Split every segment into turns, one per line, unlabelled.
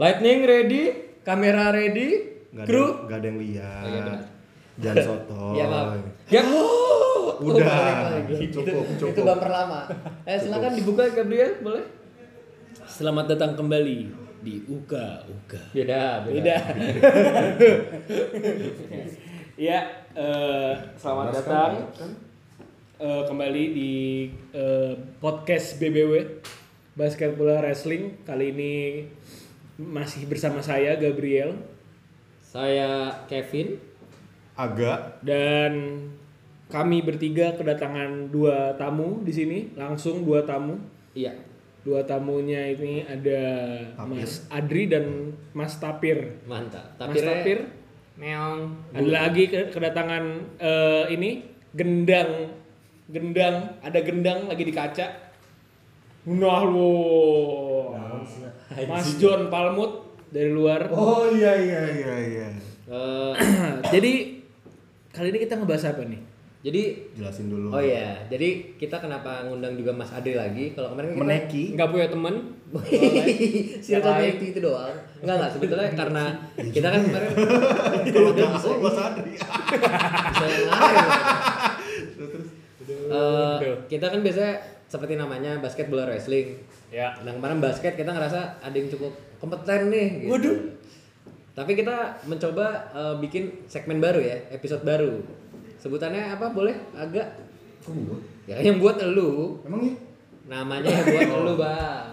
Lightning ready, kamera ready,
Gak ada,
kru.
nggak ada yang lihat.
iya, benar.
Jangan sotoy.
Ya maaf. Ya. Oh,
Udah,
balik lagi.
cukup,
Itu- Itu
cukup.
bumper lama. Eh silakan dibuka Gabriel, boleh?
Selamat datang kembali di Uka Uka.
Beda,
Beda. ya, eh, selamat
Jelas kan,
datang
jelas kan?
eh, kembali di eh, podcast BBW Basket Bola Wrestling. Kali ini masih bersama saya Gabriel
Saya Kevin.
Agak
dan kami bertiga kedatangan dua tamu di sini, langsung dua tamu.
Iya.
Dua tamunya ini ada
Tapir.
Mas Adri dan Mas Tapir.
Mantap.
Mas Tapir
Neong.
ada lagi ke- kedatangan eh, ini gendang gendang ada gendang lagi di kaca nah lo Mas John Palmut dari luar Nah,
Oh iya iya iya iya.
eh,
jadi kali ini kita ngebahas apa nih
jadi
Jelasin dulu.
Oh iya, jadi kita kenapa ngundang juga Mas Adri lagi? Kalau kemarin kan kita
Meneki.
nggak punya temen, circle meneki itu doang. Enggak enggak, sebetulnya karena kita kan kemarin
Kalau jago gua sadri.
bisa yang lain. Eh, kita kan biasanya seperti namanya basket bola wrestling.
ya
Nah kemarin basket kita ngerasa ada yang cukup kompeten nih. Gitu. Waduh. Tapi kita mencoba eh, bikin segmen baru ya, episode baru. Sebutannya apa boleh? Agak
Kok gua?
ya kan yang buat elu
Emang ya?
namanya yang buat
Oh.
elu bang.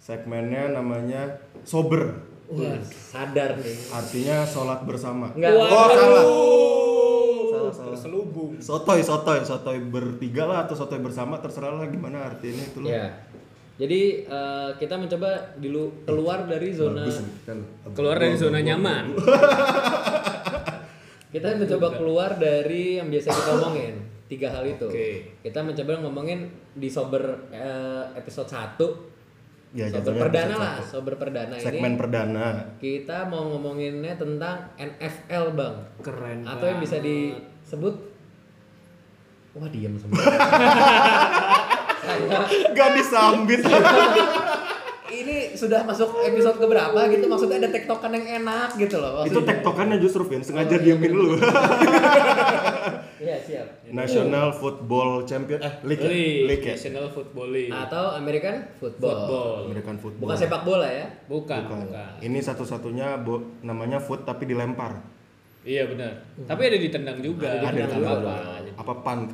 Segmennya namanya sober.
Wah, Ya, sadar nih.
Artinya sholat bersama.
Enggak.
Oh salah. Salah, salah.
terselubung
Sotoy, sotoy, sotoy bertiga lah atau sotoy bersama terserah lah gimana artinya itu lah.
Ya. Jadi eh, kita mencoba dulu keluar dari zona
Bagus nih, kan.
keluar dari zona nyaman
kita mencoba keluar dari yang biasa kita omongin tiga hal itu.
Oke.
Kita mencoba ngomongin di sober eh, episode 1
Ya,
sober
jatuhnya
perdana
episode
lah, sober perdana
Segmen
ini
perdana.
kita mau ngomonginnya tentang NFL bang
Keren.
atau yang bisa disebut wah diam semua Saya-
Gak disambit.
Iya, ini sudah masuk episode keberapa gitu maksudnya ada tektokan yang enak gitu loh
itu
maksudnya.
tektokannya justru Vin
Oh,
sengaja diemin lu.
Iya siap.
National Football Champion eh League, ya?
League,
League ya?
National Football League
Atau American football.
Football.
American Football.
Bukan sepak bola ya.
bukan,
Bukan.
bukan.
Ini satu-satunya bo- namanya foot tapi dilempar.
iya benar tapi ada ditendang juga
Ada ditendang
Nggak
juga.
apa-apa.
Apa punt?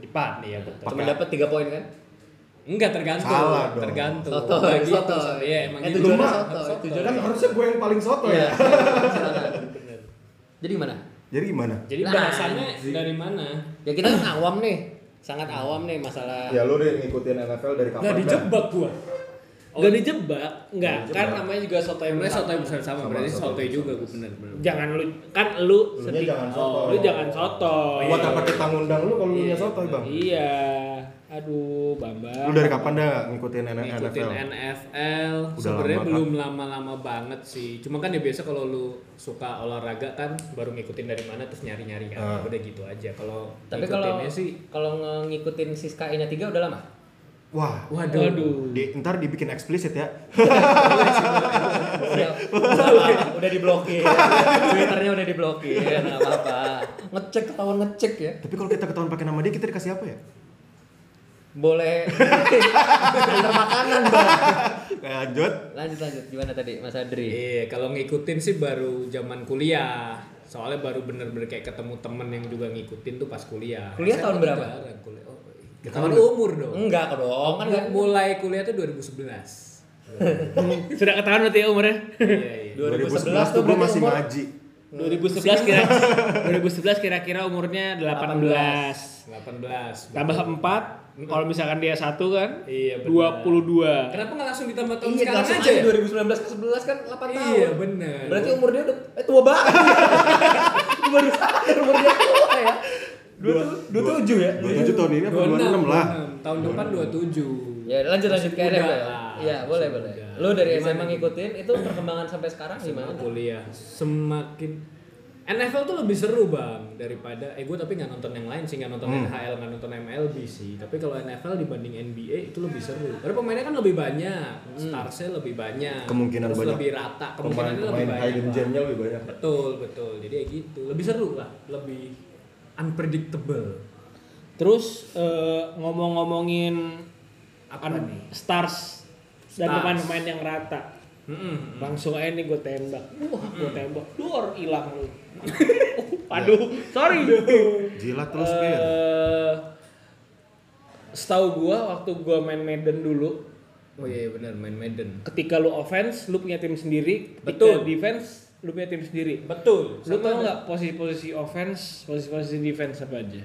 depan iya betul
Cuma dapat 3 poin kan?
Enggak tergantung,
Salah dong.
tergantung.
Soto,
gitu.
Bagi-
soto.
Iya, emang
Eh,
gitu.
tujuannya
Lumah.
soto, tujuannya soto.
harusnya gue yang paling soto ya.
Iya. silakan. Jadi gimana?
Jadi gimana?
Jadi
Nah,
bahasannya dari mana?
Ya kita kan awam nih. Sangat awam nih masalah.
Ya lu udah ngikutin NFL dari kapan?
Enggak dijebak gua. Enggak dijebak, enggak. Kan namanya juga soto yang
Sebenarnya soto
soto.
yang besar sama,
Sama,
berarti
soto
soto
yang
juga gue bener bener.
Jangan lu kan lu
Lu
sedih.
jangan soto.
Oh, Lu jangan soto.
Oh, iya.
Buat apa kita ngundang lu kalau lu nya soto, Bang?
Iya. Aduh, Bambang.
Lu dari kapan dah ngikutin NFL?
Ngikutin NFL
Udah
sebenarnya
lama, kan?
belum lama-lama banget sih. Cuma kan ya biasa kalau lu suka olahraga kan baru ngikutin dari mana terus nyari-nyari
Ah.
kan. Udah gitu aja. Kalau
Tapi kalau
ngikutinnya ya sih
kalau nge- ngikutin Siska nya 3 udah lama.
Wah,
Waduh.
di, ntar dibikin eksplisit ya.
Siap. Udah, udah diblokir. Twitternya udah diblokir. Enggak apa-apa. Ngecek ketahuan ngecek ya.
Tapi kalau kita ketahuan pakai nama dia, kita dikasih apa ya?
Boleh antar makanan, Bang.
Lanjut.
Lanjut lanjut gimana tadi Mas Adri?
Iya, kalau ngikutin sih baru zaman kuliah. Soalnya baru bener-bener kayak ketemu temen yang juga ngikutin tuh pas kuliah.
Kuliah
Saya
tahun
tuh
berapa?
jarang Kuliah. Oh, ya, tahun umur dong.
Enggak dong, kan enggak
Enggak mulai kuliah tuh 2011.
Sudah ketahuan berarti ya umurnya.
Iya, iya.
2011 tuh gue
berarti
masih
umur-
ngaji.
2011 kira 2011 kira-kira umurnya 18.
18.
Tambah 4, kalau misalkan dia 1 kan?
Iya, benar.
22.
Kenapa nggak langsung ditambah tahun
Iya,
sekarang
langsung
aja ya?
aja 2019 ke 11 kan 8 tahun.
Iya, bener.
Berarti umur dia udah eh tua banget. Baru sadar umur dia tua ya.
Dua, dua tujuh ya? Dua tujuh tahun ini apa dua enam lah?
26. Tahun depan 27.
Ya lanjut lanjut ke
Udah
LM ya.
lah.
Iya, boleh boleh.
Udah.
Lu dari SMA ngikutin itu perkembangan sampai sekarang gimana?
Kuliah semakin
NFL tuh lebih seru bang daripada eh gue tapi nggak nonton yang lain sih nggak
Hmm.
nonton NHL nggak nonton MLB sih tapi kalau NFL dibanding NBA itu lebih seru karena pemainnya kan lebih banyak starsnya lebih banyak
Hmm. Kemungkinan
terus
banyak.
lebih rata
pemain
kemungkinannya lebih
pemain
banyak
hidden
Bang.
gemnya lebih banyak
betul betul jadi ya gitu lebih seru lah lebih unpredictable
Terus eh, ngomong-ngomongin
apa
an-
nih
stars dan
Stars.
pemain-pemain yang rata.
Mm-mm.
Langsung aja nih gue tembak. Wah, gue tembak. Dor hilang lu. Aduh, sorry.
jilat terus
Eh,
Pir.
Setahu gua waktu gua main Madden dulu,
oh iya benar main Madden
ketika lu offense lu punya tim sendiri, ketika
Betul.
defense lu punya tim sendiri.
betul
Lu tau nggak posisi-posisi offense, posisi-posisi defense apa aja?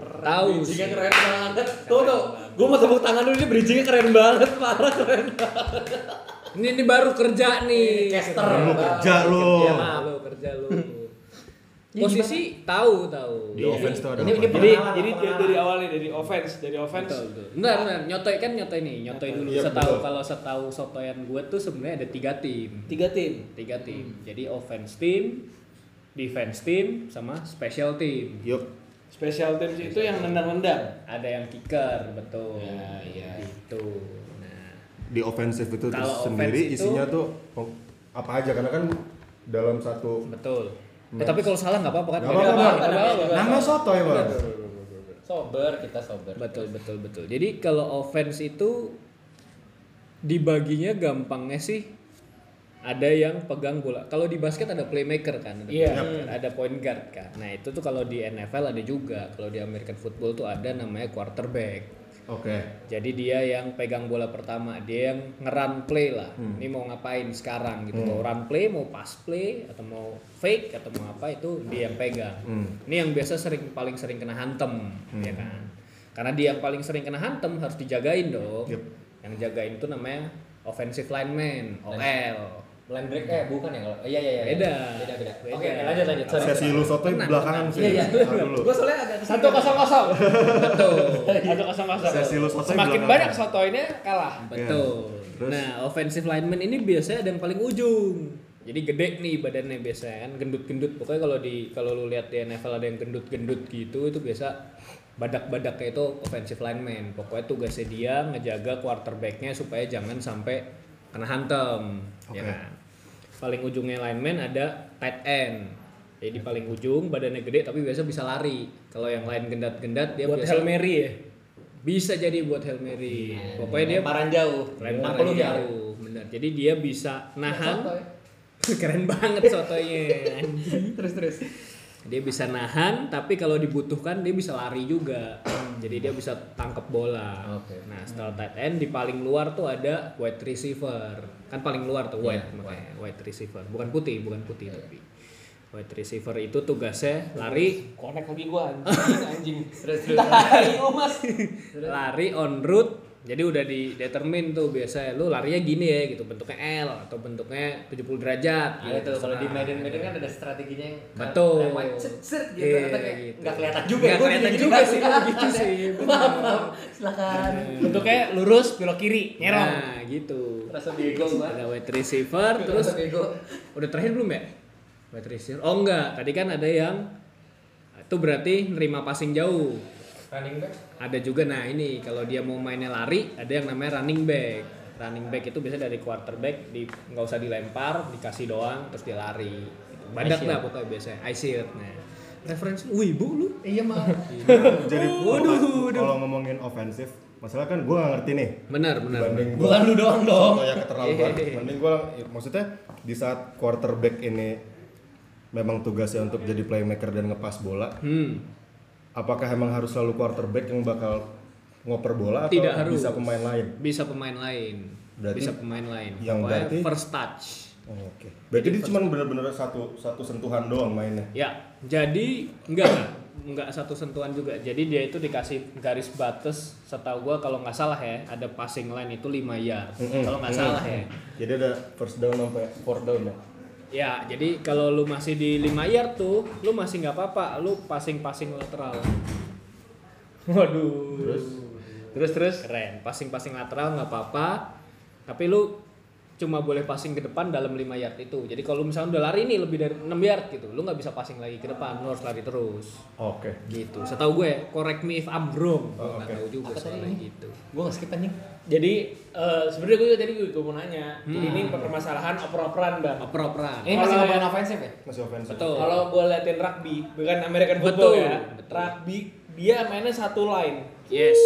tahu sih.
Bridgingnya keren banget. Tuh tuh, gue mau tepuk tangan dulu ini bridgingnya keren banget, parah keren.
ini ini baru kerja nih
Caster.
Lu kerja lu.
Kerja lah, lu kerja lu posisi tahu tahu
Di offense tuh ada
Ini-
apa?
ini
Iya.
Jadi,
Pengalaman,
jadi dari,
pengalaman.
dari awal nih, dari offense, dari offense.
Betul, betul. Bentar, bentar. Nyotoy kan nyotoy nih, nyotoy dulu.
Iya,
setahu
betul.
kalau setahu sotoyan gue tuh sebenarnya ada tiga tim.
Tiga tim.
Tiga tim. Jadi offense team, defense team, sama special team.
Yup.
Special teams itu yang nendang-nendang.
Ada yang kicker, betul.
Ya, iya.
Itu. Nah,
di offensive itu terus
Kalau offense
sendiri
itu-
isinya tuh oh, apa aja karena kan dalam satu
betul. Eh, tapi kalau salah nggak apa-apa kan?
Nggak apa-apa,
Nggak
Bang. nama soto ya bang
Sober, kita sober.
Betul, betul, betul. Jadi kalau offense itu dibaginya gampangnya sih ada yang pegang bola. Kalau di basket ada playmaker kan, ada,
Iya.
playmaker, ada point guard kan. Nah, itu tuh kalau di NFL ada juga. Kalau di American football tuh ada namanya quarterback.
oke
Jadi dia yang pegang bola pertama, dia yang ngerun play lah.
Hmm.
Ini mau ngapain sekarang gitu. Mau run play, mau pass play, atau mau fake atau mau apa itu dia yang pegang.
Hmm.
Ini yang biasa sering paling sering kena hantem, ya kan. Karena dia yang paling sering kena hantem harus dijagain dong.
Yep.
Yang jagain itu namanya offensive lineman, OL.
Line break eh bukan ya kalau. Iya iya iya.
Beda.
Beda beda.
Beda.
Oke, oke, lanjut lanjut. Sorry.
sesi lu soto
Tenang,
belakangan
tenang.
sih
Iya, iya.
Ntar dulu
Gue soalnya agak kesel.
Satu kosong kosong.
Betul.
Satu kosong kosong.
Sesi lu sotoy
Semakin
belakangan.
banyak sotoynya kalah.
Betul.
Terus?
Nah, offensive lineman ini biasanya ada yang paling ujung. Jadi gede nih badannya biasanya kan gendut-gendut. Pokoknya kalau di kalau lu lihat di NFL ada yang gendut-gendut gitu itu biasa badak-badaknya itu offensive lineman. Pokoknya tugasnya dia ngejaga quarterbacknya supaya jangan sampai kena hantem, ya
Oke.
kan? Paling ujungnya lineman ada tight end. Jadi di paling ujung badannya gede tapi biasa bisa lari. Kalau yang lain gendat-gendat dia
Buat
biasa
Hail Mary ya.
bisa jadi buat Hail Mary. Pokoknya dia
Lemparan jauh.
Lempar
60
aja.
jauh. ya.
jauh, benar. Jadi dia bisa nahan. Keren banget sotonya. anjing.
Terus terus.
dia bisa nahan, tapi kalau dibutuhkan dia bisa lari juga. Jadi dia bisa tangkep bola.
Oke.
Nah, setelah tight end di paling luar tuh ada wide receiver. Kan paling luar tuh wide makanya wide receiver. Bukan putih, bukan putih tapi. Wide receiver itu tugasnya lari
Connect lagi gua anjing anjing.
Terus terus.
Tai oh mas.
lari on route jadi udah didetermin tuh biasanya lu larinya gini ya gitu bentuknya L atau bentuknya 70 derajat
Ada
gitu.
tuh Iya, kalau di
Nah,
Medan Medan kan ada strateginya yang
Betul.
Lewat cet cet gitu
Iya,
atau kayak
gitu.
nggak kelihatan juga.
Nggak
Gua
kelihatan
gini-gini
juga
nggak
sih,
kelihatan.
gitu sih,
Maaf,
bener.
maaf. Silakan.
Bentuknya lurus belok kiri nyerong.
nah gitu
Rasa bego gua.
ada wide receiver terus
Terus bego.
udah terakhir belum ya wide receiver oh enggak tadi kan ada yang ah, itu berarti nerima passing jauh
Running back.
ada juga nah ini kalau dia mau mainnya lari ada yang namanya running back running back itu biasanya dari quarterback di nggak usah dilempar dikasih doang terus dia lari badak lah pokoknya biasanya I see it nah referensi wih bu lu
Iya, maaf.
jadi
Waduh,
kalau-
waduh.
kalau ngomongin offensive masalah kan gue gak ngerti nih
benar benar
Dibanding gua
Bukan lu doang dong.
Soto yang keterlaluan. Mending gua ya, maksudnya di saat quarterback ini memang tugasnya untuk jadi playmaker dan ngepas bola.
hmm
Apakah emang harus selalu quarterback yang bakal ngoper bola atau
Tidak harus.
bisa pemain lain?
bisa pemain lain
Berarti
bisa pemain lain
yang
Pokoknya
berarti-
first touch
Oh, Oke. Berarti dia cuma bener-bener satu satu sentuhan doang mainnya.
ya jadi enggak enggak, enggak satu sentuhan juga jadi dia itu dikasih garis batas setahu gua kalau nggak salah ya ada passing line itu 5 yard
Mm-mm.
kalau nggak
Mm-mm.
salah ya
Jadi ada first down sampai fourth down ya.
Ya, jadi kalau lu masih di 5 yard tuh, lu masih nggak apa-apa, lu passing-passing lateral.
Waduh.
Terus
Terus terus.
Keren, passing-passing lateral nggak apa-apa. Tapi lu cuma boleh passing ke depan dalam 5 yard itu. Jadi kalau misalnya udah lari nih lebih dari 6 yard gitu, lu nggak bisa passing lagi ke depan, lu harus lari terus.
Oke.
Gitu. Setahu gue, correct me if I'm wrong. Gue
Oh,
nggak
oke.
tahu juga
Apa tadi
soalnya
ini?
gitu.
Gue nggak skip anjing.
Jadi eh, sebenarnya gue tadi gue, gue mau nanya,
Hmm.
Jadi ini permasalahan oper-operan bang.
Oper-operan.
Ini masih
Kalau-
ngomongin offensive ya?
Masih offensive.
Nah, Betul.
Kalau gue latihan rugby, bukan American football
Betul,
ya.
betul.
Rugby dia mainnya satu line.
Yes.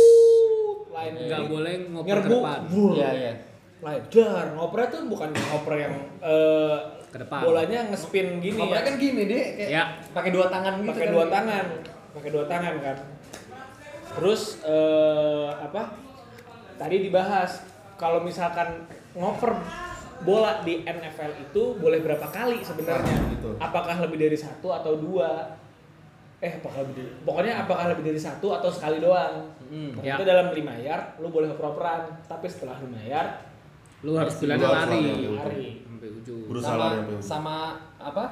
Line
Nggak boleh ngoper ke
nyerbu.
depan.
brr,
Iya, iya.
Line dar. Ngopernya tuh bukan ngoper yang eh,
Ke depan.
Bolanya ngespin gini
Ini
ya.
kan gini deh, kayak
Ya.
pakai dua tangan gitu
pakai
kan.
dua tangan pakai dua tangan kan terus eh, apa tadi dibahas kalau misalkan ngoper bola di NFL itu boleh berapa kali sebenarnya
Nah, gitu.
apakah lebih dari satu atau dua eh apakah lebih dari- pokoknya apakah lebih dari satu atau sekali doang Nah,
ya.
itu dalam 5 yard lu boleh ngoper-operan tapi setelah 5 yard
Lu
Iya.
harus bilang
Lu harus
lari.
lari sampai
ujung.
Sampai ujung.
Berusaha
sama
lari sampai ujung.
sama apa?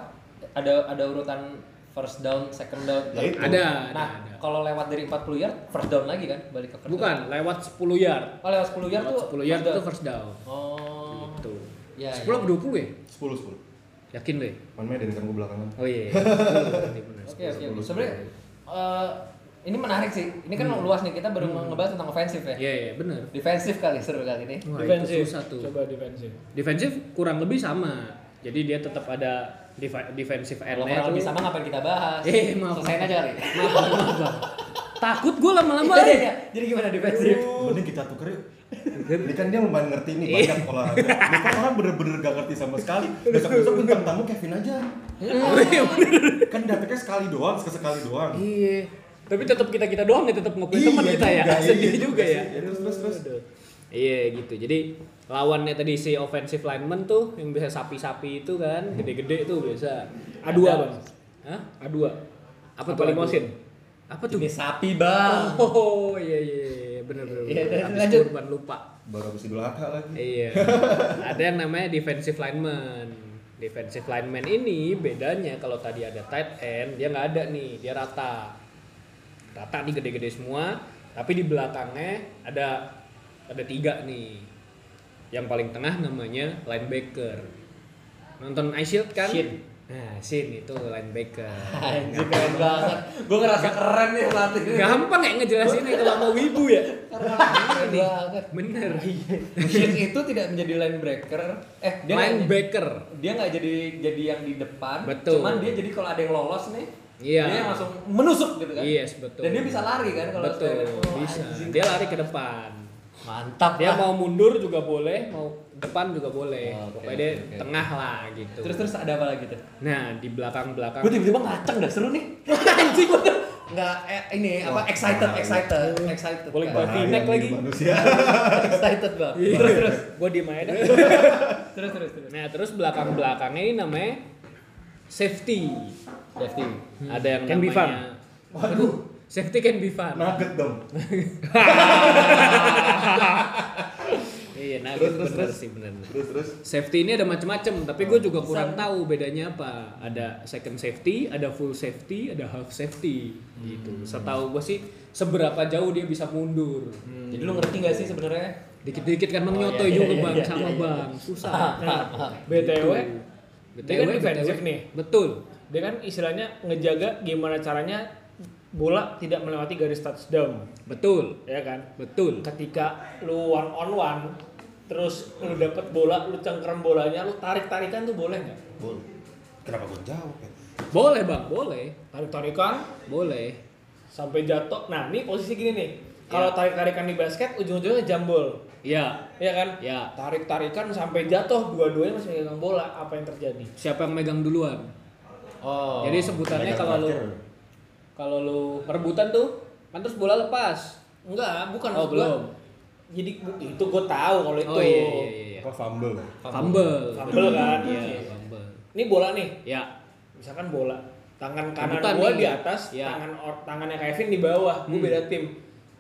Ada ada urutan first down, second down.
Ya itu.
Ada, ada,
Nah,
ada.
kalau lewat dari 40 yard, first down lagi kan, balik ke first
Bukan, lewat 10 yard.
down. Oh, lewat 10 yard
Lewat
tuh
10 yard
first
itu
down.
first down.
Oh.
Gitu.
Ya,
10
ya.
apa 20 ya?
10 10.
Yakin deh.
Man Medan kan gue belakangan.
Oh iya. iya. Ini bener.
Oke, oke. oke. Sebenarnya eh, ini menarik sih. Ini kan luas nih, kita baru ngebahas tentang offensive ya.
Hmm. Iya, iya, bener.
Defensif kali seru kali ini.
Wah, itu
defensif
susah tuh.
coba defensif
Defensif kurang lebih sama. Jadi dia tetap ada dif- defensive
Kalau
end-nya
kurang
tuh.
lebih sama ngapain kita bahas?
Eh, maaf.
Selesain aja kali.
Maaf, maaf, Bang. Takut gue lama-lama.
Iya, iya. Jadi gimana defensif?
Mending kita tuker yuk. Ini kan dia lumayan ngerti nih
Iya.
banyak olahraga. Ini kan orang bener-bener gak ngerti sama sekali. Besok-besok bintang tamu Kevin aja.
Iya.
kan datangnya sekali doang, sekali doang.
Iya. Tapi tetap kita kita doang ya tetap ngobrol teman kita ya.
juga, iya
Sedih juga ya.
sih. Terus terus terus.
Iya gitu. Jadi lawannya tadi si offensive lineman tuh yang bisa sapi-sapi itu
Hmm.
kan, gede-gede tuh biasa.
A2,
Ada-
Bang.
Hah?
A2
Apa
Apa
tuh
limosin?
Apa tuh?
Ini sapi, Bang.
Oh iya iya iya, bener bener.
Iya,
bener.
lanjut.
Habis kurban lupa.
Baru habis Idul Adha lagi.
Iya. ada yang namanya defensive lineman. Defensive lineman ini bedanya kalau tadi ada tight end, dia nggak ada nih, dia rata. Rata nih gede-gede semua, tapi di belakangnya ada ada tiga nih. Yang paling tengah namanya linebacker. Nonton Ice Shield kan?
Shin.
Nah, Shin itu linebacker.
Anjir keren banget. Gue ngerasa keren nih pelatih ini.
Gampang ya ngejelasinnya kalau mau wibu ya.
Keren banget. Iya.
Bener.
Shin itu tidak menjadi linebacker. Eh, dia nggak-
Linebacker.
dia nggak jadi jadi yang di depan.
Betul.
Cuman dia jadi kalau ada yang lolos nih,
Iya.
dia yang langsung menusuk gitu kan.
Yes, betul.
Dan dia bisa lari kan kalau
betul
sekalian. Oh,
bisa
anjing.
dia lari ke depan
Mantap
dia
lah.
mau mundur juga boleh mau depan juga boleh
Oh, oke,
pokoknya dia
oke, oke.
tengah lah gitu
Terus terus ada apa lagi tuh?
nah di belakang belakang
Gue tiba-tiba ngaceng dah seru nih. Anjing gue nggak eh, ini apa
Wah,
excited
bahaya.
excited excited
Oh. Boleh
kan.
Bahaya nih
lagi. Manusia.
excited bang
Iya.
terus terus
gue diem aja dah
terus terus terus
nah terus belakang belakangnya ini namanya safety Hmm.
safety
ada yang
Can be
namanya
fun.
Waduh,
safety can be fun
nugget dong.
iya nah
Terus,
gitu,
terus,
bener
terus.
sih bener
Terus terus.
Safety ini ada macam-macam, tapi gue juga kurang tahu bedanya apa. Ada second safety, ada full safety, ada half safety gitu. Setahu gue sih seberapa jauh dia bisa mundur.
jadi lu ngerti nggak sih sebenarnya
Dikit-dikit kan
Hmm. Oh, iya, iya,
menyotoy juga
iya,
bang,
iya,
sama
iya, iya.
bang, susah.
Ah, ah, ah.
BTW,
BTW,
dia kan
BTW.
defensif nih.
Betul.
dia kan istilahnya ngejaga gimana caranya bola tidak melewati garis touchdown
Betul.
ya kan
Betul.
ketika lu one on one terus lu dapet bola lu cengkram bolanya lu tarik tarikan tuh boleh nggak
Bol. Kenapa gue jawab ya?
Boleh bang, boleh.
tarik tarikan
Boleh.
sampai jatuh nah ini posisi gini nih
Iya.
kalau tarik tarikan di basket ujung ujungnya jambol
Ya,
ya kan
ya.
tarik tarikan sampai jatuh dua-duanya masih megang bola apa yang terjadi
Siapa yang megang duluan?
oh
Jadi sebutannya
Megang
kalau lu
terakhir.
kalau lu perebutan tuh, kan terus bola lepas.
enggak bukan
Oh,
maksud gua.
belum.
jadi bu- itu gue tahu kalau itu
Oh iya iya iya. iya.
Apa fumble?
Fumble.
Fumble kan?
Iya, fumble.
ini bola nih
Ya,
misalkan bola tangan kanan
Kebutan
gua
nih. Hmm.
di atas
Ya.
tangan or, tangannya Kevin di bawah gua beda tim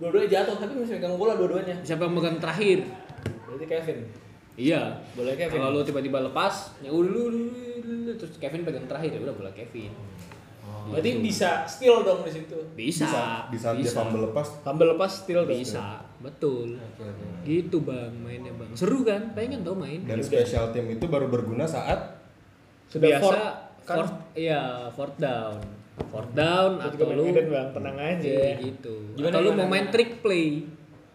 dua-duanya jatuh tapi masih megang bola dua-duanya
siapa yang megang terakhir?
berarti Kevin
Iya.
Bola Kevin.
Kalau lu tiba-tiba lepas, ya udah lu- lu- lu- lu- terus Kevin pegang terakhir ya udah bola Kevin.
Berarti bisa still dong di situ.
Bisa.
Di saat dia fumble lepas,
Kambel lepas still dong.
Bisa. Betul. Gitu bang mainnya bang. Seru kan? Pengen tau main.
dan special team itu baru berguna saat
Sudah
Biasa
fourth, kan?
fourth, iya, fourth down. Fourth down
Lu juga
atau
main
lu
Medan, Bang. Tenang aja.
Iya, gitu.
Gimana,
atau lu
gimana,
mau main
gimana?
trick play.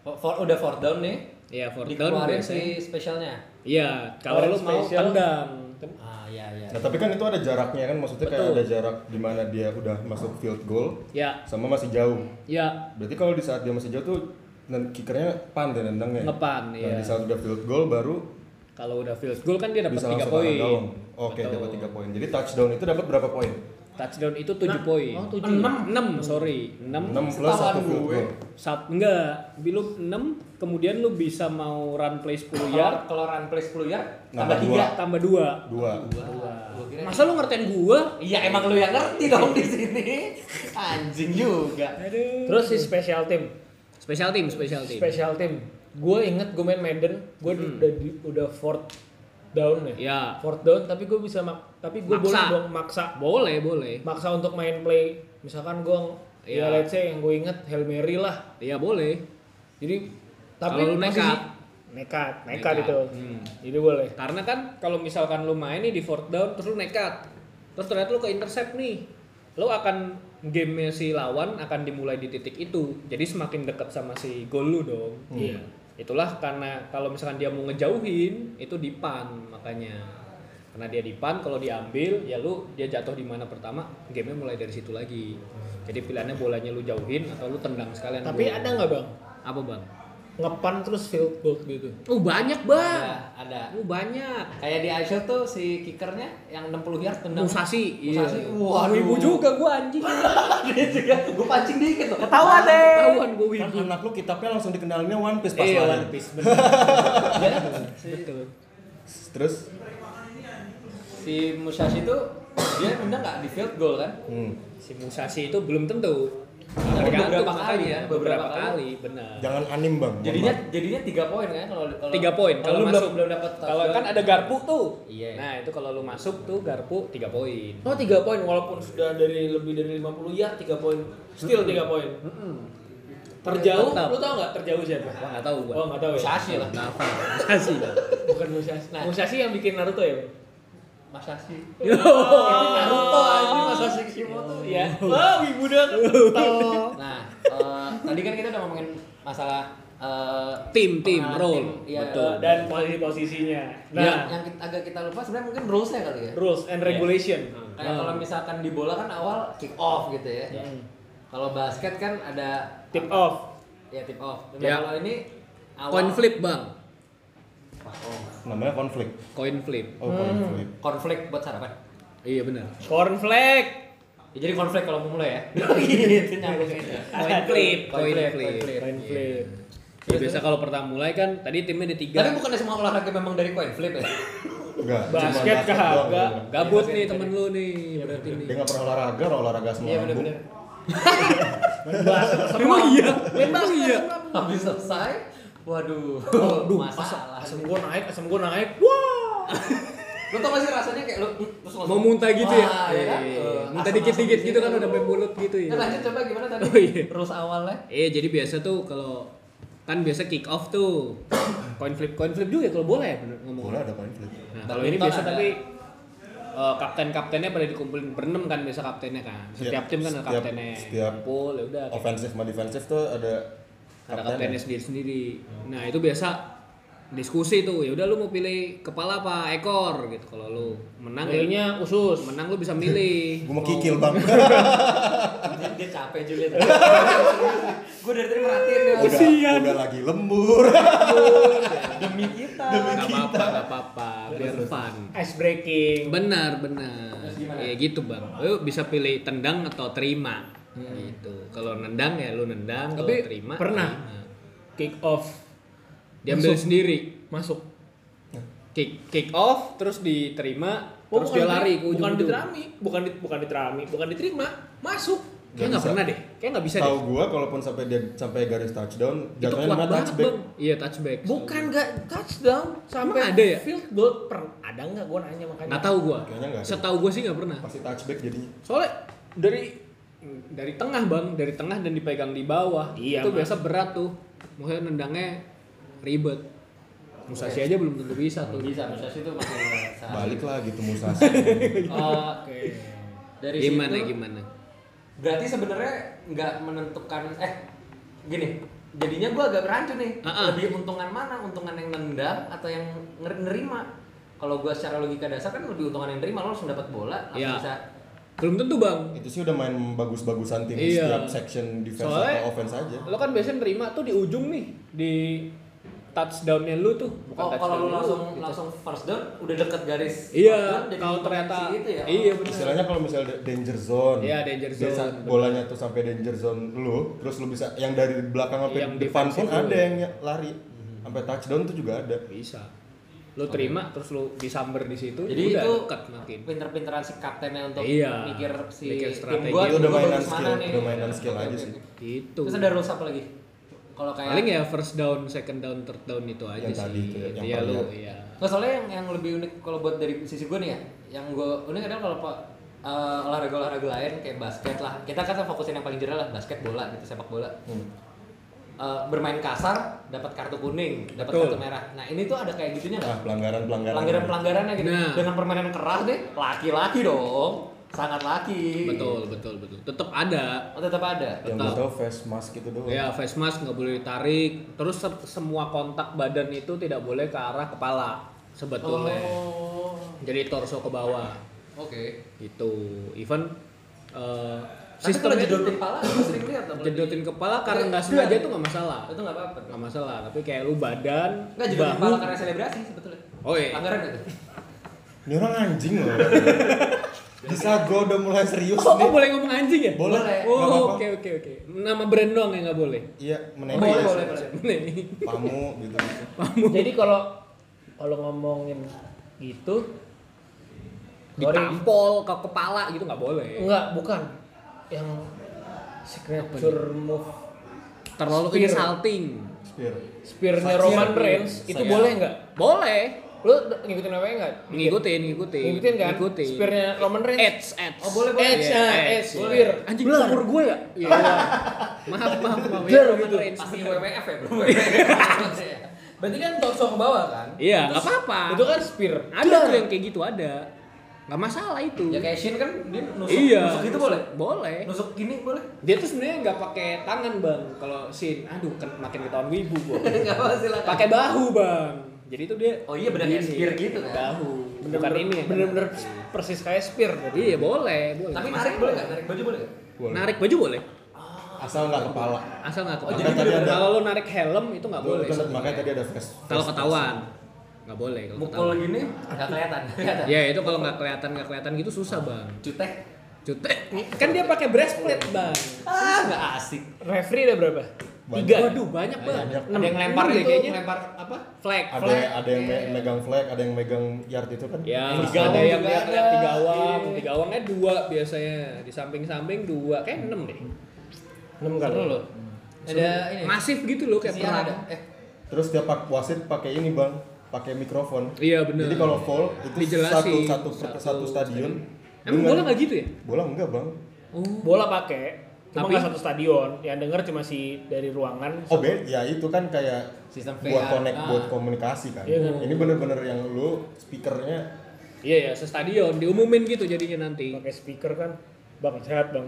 Oh, For, udah fourth down nih.
Iya, fourth down
Dikeluarin
biasanya.
si spesialnya.
Iya, kalau
Orang
lu mau
special.
tendang.
Ah iya iya.
Nah, tapi kan itu ada jaraknya kan maksudnya kayak
Betul.
ada jarak di mana dia udah masuk field goal
Ya,
sama masih jauh.
ya
Berarti kalau di saat dia masih jauh tuh dan kickernya pan dan nendangnya.
ngepan
Nah,
ya.
di saat udah field goal baru
Kalau udah field goal kan dia dapat
bisa
3
langsung
poin.
down. Oke,
Betul.
dapat 3 poin. Jadi touchdown itu dapat berapa poin?
Touchdown itu 7
Nah,
poin.
oh,
6,
tujuh.
6, sorry. 6
6 plus
Setahun
1 field
gue.
goal.
Sat, enggak, lu 6 kemudian lu bisa mau run play 10
Kalau
ya?
yard
kalau run play 10 yard
Nambah
tambah
dua.
3.
tambah 2.
2.
Masa lu ngertiin gua?
Iya emang lu yang ngerti dong di sini. Anjing juga.
Terus si Nah, special team.
Special team, special team.
Special team. Gue inget gue main Madden, gue di-
Hmm.
udah di- udah fourth down ya.
Ya,
Fourth down tapi gue bisa mak tapi gue
Maksa.
boleh dong maksa
boleh, boleh.
maksa untuk main play. Misalkan gue
Iya.
ya, let's say yang gue inget Hail Mary lah.
Iya, boleh.
Jadi tapi
Kalau lu
posisi-
nekat.
nekat, gitu. nekat,
Nekat.
itu.
Hmm.
Jadi boleh.
Karena kan kalau misalkan lu main nih di fourth down terus lu nekat. Terus ternyata lu ke intercept nih. Lu akan gamenya si lawan akan dimulai di titik itu. Jadi semakin dekat sama si gol lu dong. Iya. Itulah karena kalau misalkan dia mau ngejauhin itu dipan makanya. Karena dia dipan kalau diambil ya lu dia jatuh di mana pertama, gamenya mulai dari situ lagi. Jadi pilihannya bolanya lu jauhin atau lu tendang sekalian.
Tapi
gol.
ada nggak bang?
apa, Bang?
Ngepan terus field goal gitu.
Oh, banyak, Bang.
Ada, ada.
Oh, banyak.
Iya. Kayak di Aisyah tuh si kickernya yang 60 yard tendang.
Musasi,
Musasi.
Wah,
Waduh.
ribu juga gua anjing.
Dia juga gua pancing dikit loh. Ketahuan
eh.
deh.
Ketahuan gua
Kan
wibu.
anak lu kitabnya langsung dikenalinnya One Piece pas
Iya,
lawan.
One Piece bener. Iya,
Betul.
Terus
Si Musashi itu dia tendang nggak di field goal kan?
hmm,
si Musashi itu belum tentu.
Tapi
Tergantung
beberapa kali
makanya.
ya,
beberapa,
beberapa
kali, benar.
jangan anim, Bang. Mohon
Jadinya
maaf.
jadinya 3 poin kan kalau kalau-
Tiga poin kalau
lu
masuk.
belum belum dapat
Kalau kan ada garpu tuh.
Iya.
Nah, itu kalau lu masuk tuh garpu 3 poin.
Oh tiga poin walaupun sudah dari lebih dari 50 ya tiga poin still tiga poin. Terjauh,
Tetap.
lu tau nggak terjauh siapa?
Wah, enggak tahu gua.
Oh nggak tahu ya.
Musashi lah.
Kenapa? Musashi.
Bukan Musashi.
Nah.
Musashi yang bikin Naruto ya. Bang?
Musashi.
Oh,
Naruto anjing Musashi Kishimoto
ya. Wah, wibu dong.
Nah, eh, tadi kan kita udah ngomongin masalah eh,
Tim, tim,
pengenalan
role.
tim. Iya,
Betul.
Dan
Dan posisi-posisinya. Nah,
Ya.
yang kita- agak kita lupa sebenarnya mungkin rules-nya kali ya.
rules and
Iya.
regulation.
Hmm.
Kayak kalau misalkan di bola kan awal kick off gitu ya. Kalau basket kan ada
Tip off.
ya tip off. Dan
Ya.
kalau ini awal
Coin flip, Bang.
namanya konflik.
Coin flip.
Oh, konflik.
konflik buat sarapan.
Iya, benar.
Cornflake.
Ya, jadi konflik kalau mau mulai ya. gitu nyambung gitu.
Coin flip,
Coin
coin
flip,
flip. Iya.
coin flip.
Cornflake.
Ya, biasa kalau pertama mulai kan tadi timnya ada tiga.
Tapi bukannya semua olahraga memang dari coin flip ya?
Enggak, cuma
Basket
doang,
kagak.
doang.
Gabut nih temen lu nih berarti nih.
Dia nggak pernah olahraga, orang olahraga semua.
Iya
lambung.
benar-benar.
Emang iya, memang iya.
kan? Habis selesai, waduh, masalah.
Asam gua naik, asam gua naik. Wah.
Lu tau gak sih rasanya kayak lu mm, terus langsung-
Mau muntah gitu ya?
Wah, ya kan?
Iya,
Eh,
muntah
asam-asam
dikit-dikit
di
gitu kan
sini.
udah membulut gitu ya.
Nah, lanjut coba gimana tadi?
Oh, iya.
Rules awalnya.
Eh jadi biasa tuh kalau kan biasa kick off tuh coin flip coin flip juga ya kalau boleh bener ngomong.
Bola ada konflik.
Nah, kalau ini
Badminton
biasa
ada.
tapi eh, kapten-kaptennya pada dikumpulin berenam kan biasa kaptennya kan.
Iya,
Setiap tim kan ada
setiap-
kaptennya.
setiap
kumpul ya udah.
Offensive sama defensive tuh ada ya?
Ada kaptennya sendiri-sendiri. Nah, itu biasa diskusi tuh. Ya udah lu mau pilih kepala apa ekor gitu. Kalau lu menang ya
Kayaknya usus.
menang lu bisa milih.
Gue mau kikil bang.
Oh.
Dia, dia capek juga. Gue dari tadi merhatiin dia.
udah, udah lagi lembur.
Demi kita.
Gak apa-apa, gak apa-apa, biar fun.
Ice breaking.
Benar, benar.
Terus gimana?
Ya gitu bang. Lu bisa pilih tendang atau terima. Gitu. Kalau nendang ya lu nendang, kalau
Hmm. Tapi
terima
pernah.
terima.
Kick off.
Diambil sendiri.
Masuk.
Kick kick off, terus diterima,
Oh,
terus
bukan
dia
di-
lari ke
bukan
ujung-ujung.
diterami, bukan di- bukan diterami, bukan diterima, masuk.
Nggak
Kayaknya nggak
bisa.
pernah deh. Kayaknya nggak bisa
Tahu
deh.
gue, kalaupun sampai dia sampai garis touchdown,
Itu
jatuhnya
kuat
namanya
banget
touchback.
bang. Iya touchback.
Bukan nggak touchdown sampai
Emang ada ya?
field goal per ada nggak? Gue nanya makanya.
Nggak tahu gua.
Kayaknya nggak ada.
Setahu gua sih nggak pernah.
Pasti touchback jadinya.
Soalnya dari dari tengah bang, dari tengah dan dipegang di bawah.
Iya,
itu
Mas.
biasa berat tuh. Maksudnya nendangnya ribet. Musashi aja belum tentu bisa tuh.
Bisa, Musashi itu masih saat-
Balik lah gitu Musashi.
Eh, dari
Gimana
situ,
gimana?
Berarti sebenarnya nggak menentukan eh gini, jadinya gua agak rancu nih.
Ah, ah.
Lebih untungan mana? Untungan yang nendang atau yang nger- nerima? Kalau gua secara logika dasar kan lebih untungan yang nerima, lo langsung dapat bola, langsung
Iya.
bisa.
Belum tentu bang.
itu sih udah main bagus-bagusan tim
Iya.
setiap section defense
Soalnya-
atau offense aja.
Lo kan biasanya nerima tuh di ujung nih di touchdownnya lu tuh. Bukan
Oh, kalau
touchdown
lu langsung
gitu.
langsung first down, udah deket garis. first down,
Iya,
jadi
kalau
untungan
ternyata
gitu ya.
iya benar.
Istilahnya kalau misalnya da- danger zone.
Iya, danger
dia
zone.
sa- Bolanya tuh sampai danger zone dulu, terus lu bisa yang dari belakang sampai
Yang
depan pun
defensive
ada
dulu.
yang ny- lari. Sampai touchdown tuh juga ada.
Bisa. Lo terima terus lo disamber di situ.
Jadi
udah
itu
dekat makin.
pinter-pinteran si kaptennya untuk
Iya,
mikir si tim
mikir strategi.
gua
Itu udah
gua
mainan
bagus
skill,
mana nih.
udah mainan skill
Oke,
aja
oke,
sih.
oke.
Gitu.
Terus ada rules apa lagi? Kalau kayak
Paling ya first down, second down, third down itu aja
Yang
sih.
tadi itu ya, yang
Iya
perlu
lo,
ya.
iya.
Nggak, soalnya yang, yang lebih unik kalau buat dari sisi gue nih ya, yang gue unik adalah kalau pak eh, olahraga-olahraga lain kayak basket lah, kita kan fokusin yang paling jelas lah basket bola gitu sepak bola.
Hmm.
Eh, bermain kasar dapat kartu kuning, dapat
Betul.
kartu merah. Nah ini tuh ada kayak gitunya
Ah,
nggak?
pelanggaran-pelanggaran.
Pelanggaran-pelanggarannya gitu.
Nah.
Dengan permainan keras deh, laki-laki dong, sangat laki.
Betul, betul, betul. Tetap ada.
Oh, tetap ada.
Yang gue tau face mask gitu doang.
Ya face mask nggak boleh ditarik. Terus se- semua kontak badan itu tidak boleh ke arah kepala sebetulnya.
Oh,
Jadi torso ke bawah.
oke.
Itu even eh
Tapi kalau
sistemnya
jedotin kepala, gue sering lihat nggak boleh.
jedotin kepala karena nggak
Iya.
sengaja itu nggak masalah.
Itu nggak apa-apa.
Nggak masalah, tapi kayak lu badan,
Nggak jedotin
bahu.
kepala karena selebrasi sebetulnya.
Oh iya.
Anggaran itu.
Ini orang anjing loh. Bisa gue udah mulai serius
Oh, oh,
nih.
boleh ngomong anjing ya?
Boleh.
Boleh.
nggak apa-apa.
Oh, oke oke oke. Nama brand doang yang nggak boleh.
Iya, menengok.
Boleh, boleh, boleh.
Nih.
Pamu gitu.
Jadi kalau kalau ngomongin gitu
ditampol ke kepala gitu nggak boleh
enggak bukan yang signature move
terlalu
Spear.
insulting
Spear.
spearnya
Saya-
Roman Reigns itu
saya-
boleh nggak?
Iya, boleh
Lu d- ngikutin apa enggak?
ngikutin ngikutin
Ngikutin kan?
ngikutin
Spearnya Roman Reigns.
edge edge
Oh, boleh, boleh.
Iya,
Edge, ah, edge,
iya.
spear.
anjing
Blur.
umur gue ya Iya. maaf maaf maaf Iya,
Blur
Roman
gitu.
Reigns.
Pasti WWF ya, bro. WWF.
Berarti kan torso ke bawah kan?
iya nggak apa-apa
Itu kan spear.
ada tuh yang kayak gitu ada nggak masalah itu
ya kayak Shin kan dia nusuk,
iya
nusuk gitu boleh.
boleh
Nusuk gini boleh.
dia tuh sebenarnya nggak pakai tangan bang kalau sin aduh kan makin ketahuan ibu gua
Enggak apa silakan.
pakai bahu bang jadi itu dia
Oh iya, benar kayak
gini,
spear gitu kan?
bahu bukan
Bener-bener-
ini ya, kan?
Bener-bener persis kayak spear.
iya boleh boleh
gitu. Tapi
Nggak
narik
masalah.
boleh enggak? Narik baju boleh nggak?
Boleh.
narik baju boleh
Asal nggak kepala.
asal nggak
Oh,
ketahuan
jadi tadi ada-
kalau lo narik helm itu nggak
Lu- lu-
boleh sebenarnya.
makanya tadi ada face.
kalau
face
ketahuan nggak boleh kalau
Mukul
ketahuan
gini enggak kelihatan. Kelihatan.
ya itu kalau nggak kelihatan nggak kelihatan gitu susah bang
Cutek.
Cutek. kan dia pakai breastplate bang
Ah, enggak asik.
Referee ada berapa?
Banyak.
waduh banyak bang
Banyak.
Ada yang lempar
Enam deh
itu,
kayaknya
lempar apa?
flag
ada
Flag.
ada yang me- megang flag, ada yang megang yard itu kan.
Ya,
Terus
gawang
ada yang
juga
lihat
ada.
lihat di gawang,
Iya.
di gawangnya dua biasanya, di samping-samping dua, kayak enam deh.
6 kali.
Seru loh. Ada ini.
Masif gitu loh kayak
Siar
perang.
ada. Eh,
Terus tiap pak- wasit pakai ini, Bang, pakai mikrofon.
Iya benar.
Jadi kalau foul itu
Dijelasin.
satu satu per-
Satu
satu, stadion. dengan-
Emang bola nggak gitu ya?
Bola enggak, Bang.
Oh.
Bola pakai Cuma
Tapi-
nggak satu stadion, yang denger cuma si dari ruangan.
Oh, be, ya itu kan kayak
Sistem
buat
VR.
connect,
Ah.
buat komunikasi kan.
Iya, kan?
Ini bener-bener yang lu speakernya
Iya ya, sestadion diumumin gitu jadinya nanti.
Pakai speaker kan. Bang sehat bang.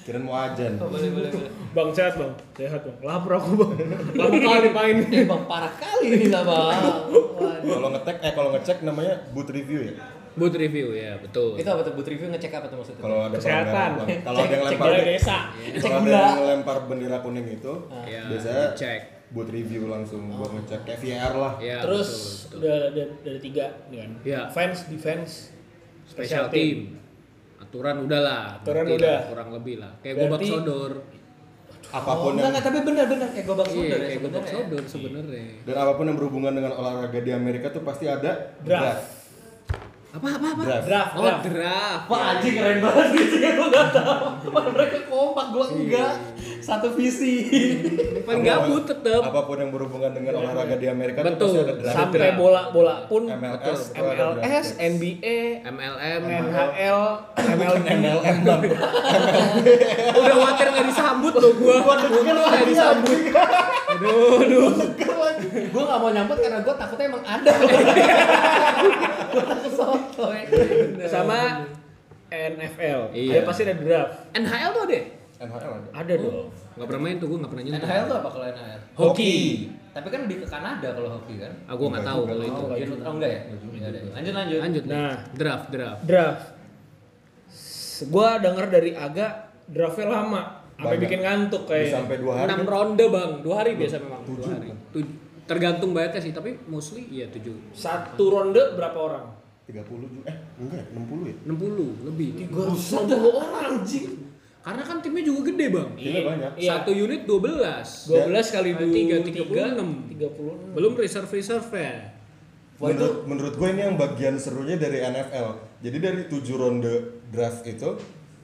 kirain mau ajan.
boleh boleh boleh.
Bang sehat bang. Sehat bang. Lapar aku bang. Lama kali main.
Eh, Bang parah kali ini lah, Bang. Waduh.
Kalau ngetek eh kalau ngecek namanya boot review ya.
Boot review ya, betul.
Itu apa tuh? Boot review ngecek apa tuh maksudnya?
Kalau ada
Kesehatan.
pelanggaran, Bang. kalau ada yang
Cek
lempar
balai desa.
Cek
Kalau ada
gula.
yang lempar bendera kuning itu,
Iya,
biasanya
dicek.
buat review langsung, buat ngecek kayak VR lah.
Ya,
Terus
betul, betul.
udah ada, ada tiga nih kan.
Iya.
Fans, defense,
special team. Aturan udahlah.
Aturan
berarti
udah.
lah, kurang lebih lah. Kayak
Berarti-
gobak sodor.
enggak,
Apapun yang
enggak, tapi benar-benar kayak gobak
Iya,
sodor ya
kayak gobak
sebenarnya. ya.
sodor sebenarnya.
dan apapun yang berhubungan dengan olahraga di Amerika tuh pasti ada
Draft.
Apa apa apa?
Draft.
Ah,
Draft,
Oh,
draft.
draft.
Wah anjing keren banget gitu ya, gue gak tau Mereka kompak, gue enggak Satu visi
Paling gabut tetep.
Apapun yang berhubungan dengan olahraga di Amerika tuh
Betul.
pasti ada draft.
Sampai bola-bola pun
MLS, tuh ada
MLS,
draft.
NBA,
MLM.
NHL, MLB.
MLM bang.
Udah khawatir nggak disambut loh gua. Gua nggak disambut. Aduh, aduh.
Gue gak mau nyambut karena gue takutnya emang ada Gue takut sotoy
sama NFL.
Iya.
Ada pasti ada draft. Oh.
NHL tuh ada. ya?
NHL ada.
Ada dong.
Nggak pernah main tuh gua nggak pernah nyentuh.
NHL tuh apa kalau NHL?
Hoki.
Tapi kan lebih ke Kanada kalau hoki kan?
Ah, gua nggak tahu kalau itu.
Oh, Gen- oh enggak ya? Enggak ada. Lanjut lanjut.
Lanjut.
Nah.
draft, draft.
Draft. S- Gua denger dari Aga draftnya lama. Sampai
Banyak.
bikin ngantuk
Bisa
kayak.
Sampai dua hari. kan?
6 ronde, Bang. 2 hari biasa memang. 2 hari. Tuj- tergantung banyaknya sih, tapi mostly iya 7.
Satu ronde berapa orang?
Tiga puluh juga. Eh enggak, enam puluh ya.
60 lebih.
360 orang anjing.
Karena kan timnya juga gede, Bang.
Gila banyak.
Iya.
Satu unit 12.
12 kali
Kali
2
tiga, 36.
36.
Belum reserve reserve ya.
menurut, menurut gue ini yang bagian serunya dari NFL. Jadi dari tujuh ronde draft itu,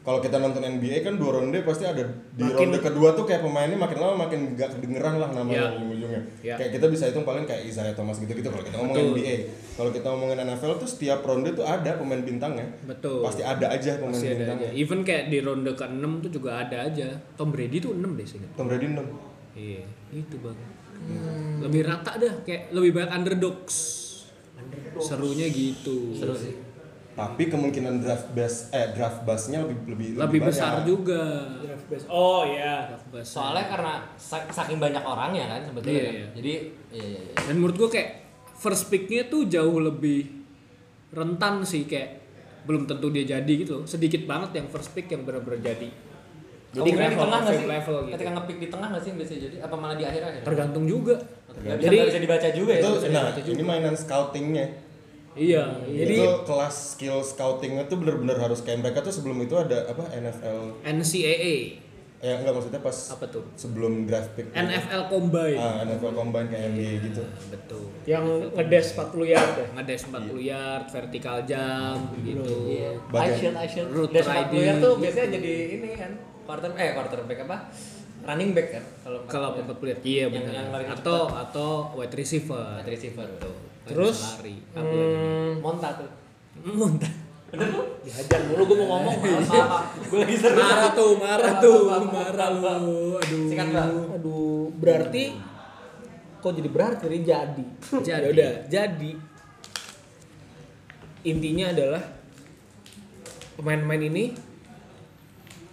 kalau kita nonton NBA kan dua ronde pasti ada di ronde kedua tuh kayak pemainnya makin lama makin gak kedengeran lah namanya
Iya.
ujung-ujungnya.
Iya.
Kayak kita bisa hitung paling kayak Isaiah Thomas gitu-gitu kalau kita ngomongin NBA. Kalau kita ngomongin NFL tuh setiap ronde tuh ada pemain bintangnya.
Betul.
Pasti ada aja pemain
Masih ada aja.
bintangnya.
Even kayak di ronde ke-6 tuh juga ada aja. Tom Brady tuh 6 deh seingat.
Tom Brady enam.
Iya, itu Bang. Lebih rata dah, kayak lebih banyak underdogs. Serunya gitu.
Seru sih.
Tapi kemungkinan draft base eh draft base-nya lebih lebih
Lebih besar
banyak.
juga.
Draft base. Oh iya.
Draft base.
Soalnya karena sa- saking banyak orangnya kan sebetulnya.
Iya,
kan.
iya.
Jadi iya iya iya.
Dan menurut gue kayak first picknya tuh jauh lebih rentan sih kayak belum tentu dia jadi gitu. loh. Sedikit banget yang first pick yang benar-benar jadi.
Jadi kira di
level,
tengah nggak
same
sih?
level gitu.
Ketika ngepick di tengah nggak sih yang biasanya jadi? Apa malah di akhir akhir?
Tergantung juga.
Nggak bisa,
Jadi-
nggak bisa dibaca juga ya.
Itu
sebetulnya.
nah, ini mainan scoutingnya.
Iya, jadi
itu kelas skill scoutingnya tuh bener-bener harus kayak mereka tuh sebelum itu ada apa NFL
NCAA
eh enggak maksudnya pas
apa tuh?
sebelum draft pick
NFL Combine.
ah, NFL combine kayak NBA gitu
Betul.
Yang ngedes 40 yard ya? deh.
Ngedes 40 yard, vertikal jump gitu.
Iya. I
Bagian.
shield, I shield.
Root
Dan sepak
riding.
player tuh biasanya jadi ini kan quarter eh quarterback apa? Running back kan kalau
Kalau
empat
pembuat lihat iya
Yang- yang
benar.
paling
Atau atau wide receiver.
wide receiver tuh.
Paling
Terus,
bisa lari. Apa lagi?
Hmm,
Monta tuh.
Muntah.
Bener tuh?
dihajar mulu gue mau ngomong.
Maaf, maaf. Gue lagi seru.
Marah tuh, marah
Maaf,
tuh,
maaf, maaf,
marah
maaf, maaf.
lu. Aduh.
Singkat, Bang.
Aduh, berarti kok jadi berarti Jadi jadi.
Jadi.
Ya udah, jadi intinya adalah pemain-pemain ini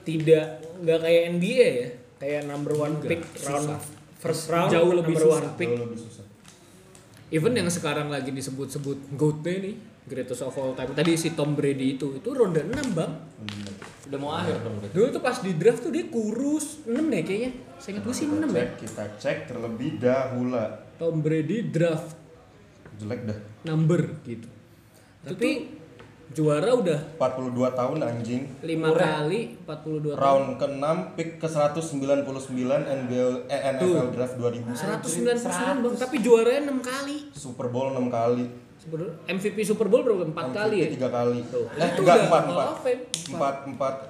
tidak nggak kayak NBA ya, kayak number one
Nggak,
pick round
susah.
first round
Jauh lebih
number
susah.
one pick.
jauh lebih susah
Even yang sekarang lagi disebut-sebut GOAT-nya nih, greatest of all time. Tadi si Tom Brady itu, itu ronde 6, Bang.
Udah mau akhir dong. Bang.
Dulu tuh pas di draft tuh dia kurus 6 deh kayaknya. Saya ingat gue sih 6 ya.
cek kita cek terlebih dahulu
Tom Brady draft
jelek dah
number gitu. Tapi juara udah
42 tahun anjing
5 kali 42 tahun.
round ke-6 pick ke 199 NBA eh, NFL draft 2000
199 Bang, tapi juaranya 6 kali.
Super Bowl 6 kali
Sebenarnya MVP Super Bowl berapa? 4 kali ya?
3 kali
Tuh.
eh
Itu
enggak
udah
4
Hall
4
of Fame.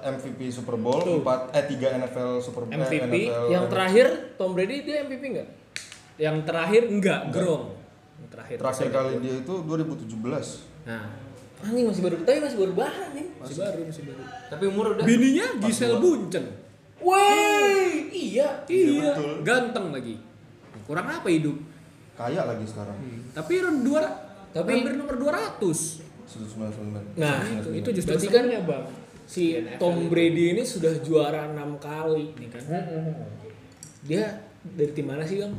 4 4 MVP Super Bowl, 4 eh 3 NFL Super Bowl,
MVP,
eh, NFL,
Yang terakhir Tom Brady dia MVP nggak?
Yang terakhir enggak, gerong. Yang terakhir.
terakhir kali dia itu 2017.
Nah,
Anjing masih baru, tapi masih baru banget nih.
masih baru, masih baru.
Tapi umur udah
Bininya Gisel Bunchen.
Woi, iya.
Iya,
betul.
ganteng lagi. Kurang apa hidup?
Kaya lagi sekarang.
Tapi round dua, tapi hampir nomor 200.
199.
Nah,
Itu, itu justru Iya,
Berarti kan ya bang, si Tom Brady ini sudah juara enam kali nih kan. Dia dari tim mana sih bang?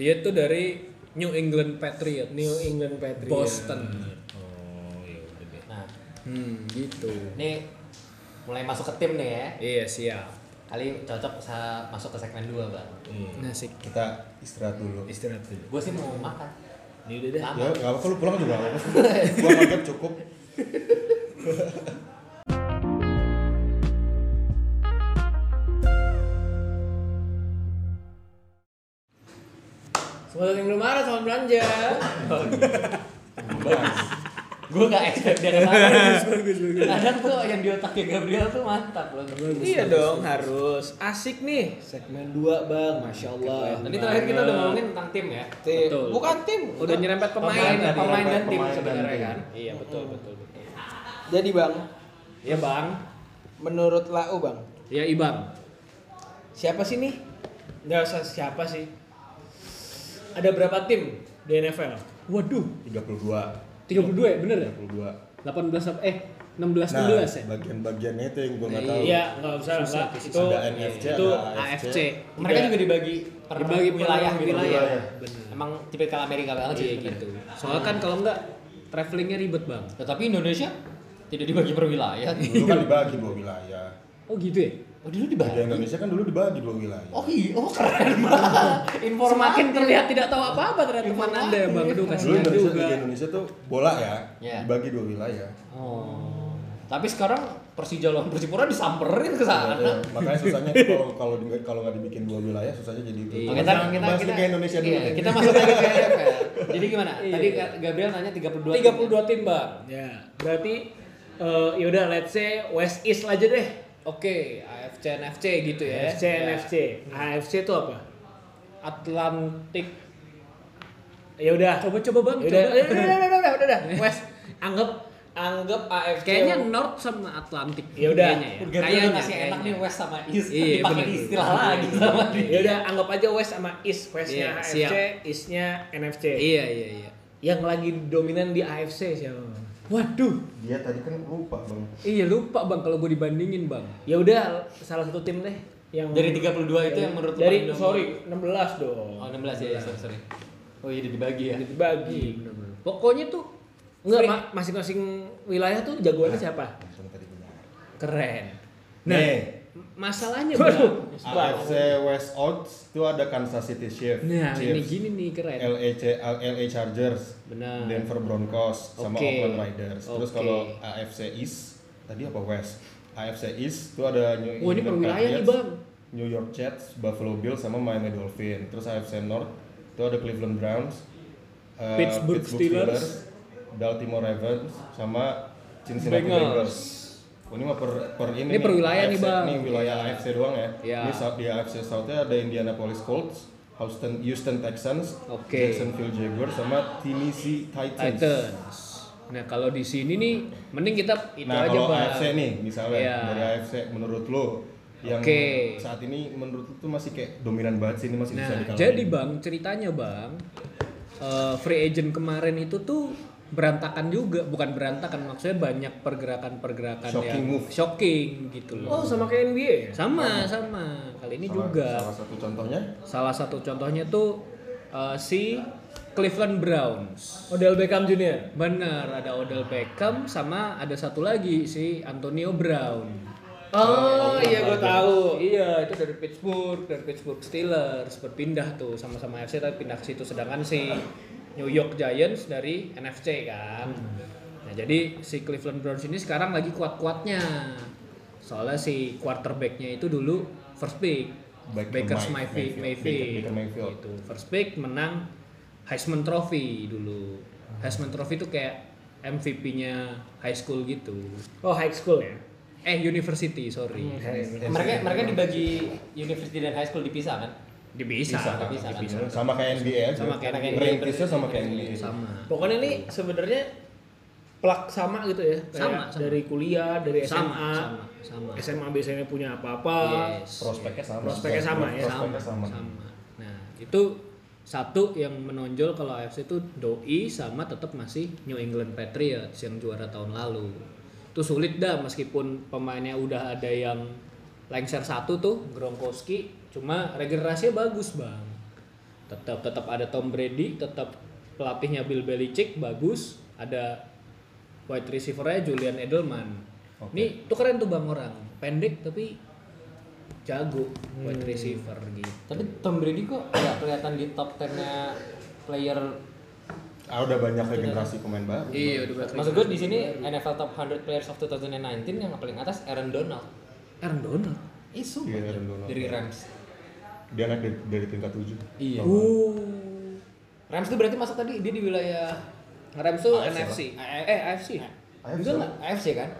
dia tuh dari New England Patriots,
New England Patriots.
Boston. Oh, iya,
Nah,
Hmm, gitu.
ini mulai masuk ke tim nih ya.
Iya, siap.
Kali cocok sa- masuk ke segmen 2, Bang.
Nasik.
Kita istirahat dulu.
Istirahat dulu.
Gue sih mau makan.
Ini udah dah.
Ya, enggak apa-apa lu pulang juga enggak apa-apa. Gua anggap cukup.
Oh, iya.
Semoga yang belum marah sama belanja.
Gue gak expect dia kenapa.
bagus bagus
Kadang tuh yang di otaknya Gabriel tuh mantap loh.
Iya dong harus. Asik nih segmen 2 bang, masya Allah.
Tadi terakhir kita udah ngomongin tentang tim ya.
Tim.
Betul.
bukan tim.
udah nyerempet pemain
Pemain,
tadi.
pemain dan tim
Pemain dan
sebenarnya
tim.
kan.
iya betul betul betul
Jadi bang,
ya bang
menurut Lau bang,
ya ibang
siapa sih nih? Nggak usah siapa sih. Ada berapa tim di NFL?
waduh
32
32 ya bener ya
32
18 apa- eh 16
nah
16 ya
bagian-bagiannya itu yang gue nggak tahu
Iya, nggak usah
Susah,
nggak.
susah.
Itu
ada NFC
itu
ada
AFC
Mereka juga Iya. dibagi per
Dibagi per
wilayah gitu.
wilayah.
ya.
Bener.
Emang tipikal Amerika banget sih.
iya
bener.
gitu soalnya kan kalau enggak travelingnya ribet bang
Tetapi Nah, Indonesia tidak dibagi per wilayah.
dulu kan dibagi dua wilayah
oh gitu ya
Oh dulu
Liga
dibagi.
Indonesia kan dulu dibagi dua wilayah
Oh iya, oh keren banget. Informatif.
semakin terlihat tidak tahu apa-apa ternyata teman anda ya bang aduh
dulu
kasihan
Indonesia
juga
Liga Indonesia tuh bola ya
Iya.
dibagi dua wilayah
Oh. Tapi sekarang Persija lawan Persipura disamperin ke sana.
Iya, makanya susahnya tuh kalau kalau di- kalau nggak dibikin dua wilayah susahnya jadi itu
Oke,
Jangan
ntar Iya. kita
bahas
kita
Liga Indonesia dulu
iya,
deh.
kita masuk lagi ke NFL. Jadi gimana?
Iya.
Tadi Ga- Gabriel nanya 32.
32 tim bang
ya. Berarti eh, yaudah let's say West East aja deh.
Oke, AFC NFC gitu ya.
AFC,
Ya.
NFC. AFC itu apa?
Atlantik.
Ya udah.
Coba-coba Bang,
Ya udah,
coba.
ya udah, udah, udah, udah, udah, udah. West anggap anggap AFC.
Kayaknya North sama Atlantik.
Ya udah.
kayaknya ya.
Gabriel
Kayaknya,
masih enak nih
kayaknya.
West sama East.
Iya,
Dipakai
bener.
istilah lagi sama dia.
ya udah anggap aja West sama East. Westnya
Iya,
AFC,
siap.
Eastnya NFC.
Iya, iya, iya.
Yang lagi dominan di AFC siapa?
Waduh,
dia tadi kan lupa bang
iya lupa Bang kalau gue dibandingin Bang.
Ya udah salah satu tim deh yang
Dari 32 itu yang menurut lu
dari
paling dominan.
sorry 16 dong.
Oh 16 ya, ya sorry, sorry. Oh iya dibagi ya.
iya,
Dibagi.
Pokoknya tuh
Enggak, ma- masing-masing wilayah tuh jagoannya siapa?
Langsung tadi benar.
keren. Nah,
Nih,
masalahnya Bang.
Waduh,
AFC West Odds itu ada Kansas City Chiefs,
Nah, ini
Chiefs, E
gini nih keren.
LA, Ch- LA Chargers,
Benar.
Denver Broncos, sama
Oke.
Oakland Riders. Terus
Oke.
kalau AFC East, tadi apa West? AFC East itu ada New
Wah, ini per wilayah nih, Bang.
New York Jets, Buffalo Bills, sama Miami Dolphins. Terus AFC North itu ada Cleveland Browns, eh,
Pittsburgh Steelers,
Baltimore Ravens, sama Cincinnati
Bengals.
Bengals. Oh, ini mah per, per ini
Ini per wilayah nih,
AFC
Bang.
Ini wilayah AFC doang ya.
Iya.
Ini South- di AFC South-nya ada Indianapolis Colts, Houston Houston Texans,
Oke.
Jacksonville Jaguars sama Tennessee Titans.
Titans. Nah, kalau di sini nih mending kita itu
Nah,
aja
kalau
Bang.
AFC nih misalnya
Iya.
dari AFC menurut lo yang
Oke.
saat ini menurut lo tuh masih kayak dominan banget sih ini masih bisa
Nah,
dikalahin.
jadi bang ceritanya bang, eh, free agent kemarin itu tuh berantakan juga, bukan berantakan maksudnya banyak pergerakan-pergerakan
Shocking
yang
move.
shocking gitu loh.
Oh, sama kayak NBA ya?
sama, sama kali ini
Salah-
juga.
salah satu contohnya
Salah satu contohnya tuh eh, si Cleveland Browns.
Odell Beckham Junior.
Bener, ada Odell Beckham sama ada satu lagi si Antonio Brown.
Oh, iya gue tahu.
Iya, itu dari Pittsburgh, dari Pittsburgh Steelers berpindah tuh sama-sama FC tapi pindah ke situ sedangkan si New York Giants dari NFC kan.
Hmm.
Nah, jadi si Cleveland Browns ini sekarang lagi kuat-kuatnya. Soalnya si quarterbacknya itu dulu first pick
Baker
Baker
Mike-
Mayfield,
Mayfield.
Mayfield,
Baker Mayfield.
gitu. First pick menang Heisman Trophy dulu.
Hmm.
Heisman Trophy itu kayak MVP-nya high school gitu.
Oh, high school ya. Hmm.
Eh, university, sorry.
Mereka mereka dibagi university dan high school dipisah kan?
Dipisah,
Bisa, bisa,
dipisah.
sama kayak NBA aja.
Sama kayak
NBA.
Ringkisnya sama kayak NBA.
sama
Pokoknya nih sebenarnya plak sama gitu ya. Kayak
Sama, sama.
Dari kuliah, dari SMA.
sama sama Iya. sama
SMA biasanya punya apa-apa.
Yes.
Prospeknya sama.
Prospeknya sama ya?
Prospeknya sama.
sama sama nah itu satu yang menonjol kalau AFC itu doi sama tetap masih New England Patriots yang juara tahun lalu itu sulit dah meskipun pemainnya udah ada yang lengser satu tuh Gronkowski cuma regenerasinya bagus bang tetap tetap ada Tom Brady tetap pelatihnya Bill Belichick bagus ada wide receivernya Julian Edelman
Oke.
ini tuh keren tuh bang orang pendek tapi jago wide receiver gitu
Tapi Tom Brady kok nggak kelihatan di top 10-nya player
Ah, udah banyak regenerasi pemain baru.
iya udah berarti
Maksud gue di sini NFL Top 100 Players of 2019 yang paling atas Aaron Donald.
Aaron Donald
Isu
Iya, Aaron Donald.
dari Rams.
Dia naik dari, dari tingkat 7.
Iya. Rams tuh berarti masuk tadi dia di wilayah
Rams tuh
AFC,
NFC. Eh, AFC.
AFC.
Enggak lah, AFC kan?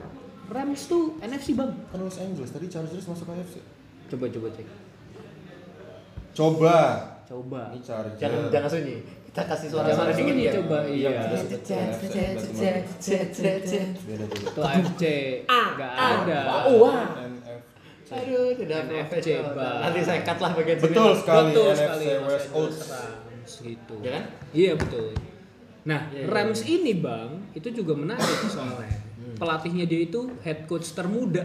Rams tuh NFC, Bang.
Kan Los Angeles tadi Chargers masuk AFC.
Coba coba cek.
Coba.
Coba.
Ini Chargers.
Jangan jangan sunyi. Kita kasih
Jangan
suara-suara dingin
sunyi,
ya.
coba iya.
Beda juga.
Itu AFC. Enggak ada.
Wah.
NF.
Aduh, tidak
NFC,
profesional.
Bang.
Nanti saya cut lah bagian sini.
Betul sekali
Betul
NFC
sekali,
West
Los
Oats.
Angeles Rams gitu.
Ya kan?
Iya, betul. Nah,
Iya, iya,
Rams ini, Bang, itu juga menarik soalnya. Pelatihnya dia itu head coach termuda.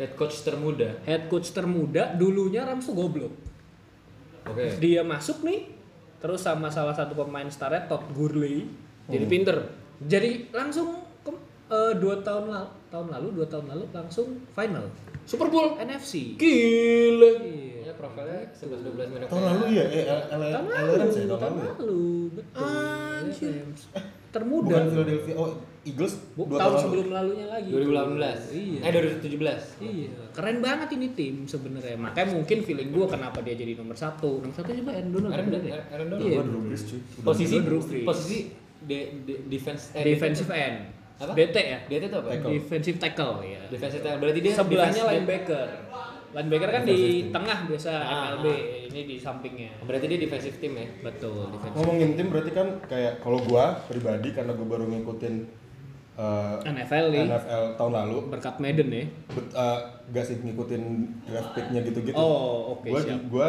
Head coach termuda.
Head coach termuda dulunya Rams tuh goblok.
Oke.
dia masuk nih terus sama salah satu pemain starnya Todd Gurley jadi
Hmm.
pinter jadi langsung ke- eh, dua tahun lalu tahun lalu dua tahun lalu langsung final
Super Bowl.
NFC
Gila.
Iya.
Ya profilnya 11 12 menit.
Tahun lalu ya, eh
tahun
LRM
lalu
sih tahun
tahun
lalu. ya?
lalu betul
Anjir.
Rams. Eh,
Bukan
termuda
Philadelphia, oh Eagles
Bu-
dua
tahun
lalu.
sebelum lalunya lagi
2018.
iya
Eh 2017.
Iya, keren banget ini tim sebenarnya. Makanya mungkin feeling gua kenapa dia jadi nomor satu. Nomor satu siapa Aaron Donald.
Aaron
bener
Donald,
ya?
Aaron Donald.
Iya.
Gua Drew Brees cuy. Udah
Posisi
Drew Brees.
posisi de- de- defense eh,
Defensive end.
Apa?
DT ya.
Dia itu apa?
Tackle.
Defensive tackle ya.
Defensive tackle. Berarti dia
sebelahnya
defense-
linebacker. Linebacker kan
Defensive
di
team.
tengah biasa
Ah,
MLB, ini di sampingnya.
Berarti dia defensive team ya.
Betul, defensive.
ngomongin tim berarti kan kayak kalau gua pribadi karena gua baru ngikutin eh,
NFL nih
NFL tahun lalu
berkat Madden ya.
bet, eh, gak sih ngikutin draft picknya gitu-gitu
Oh, oke
gua,
siap.
gua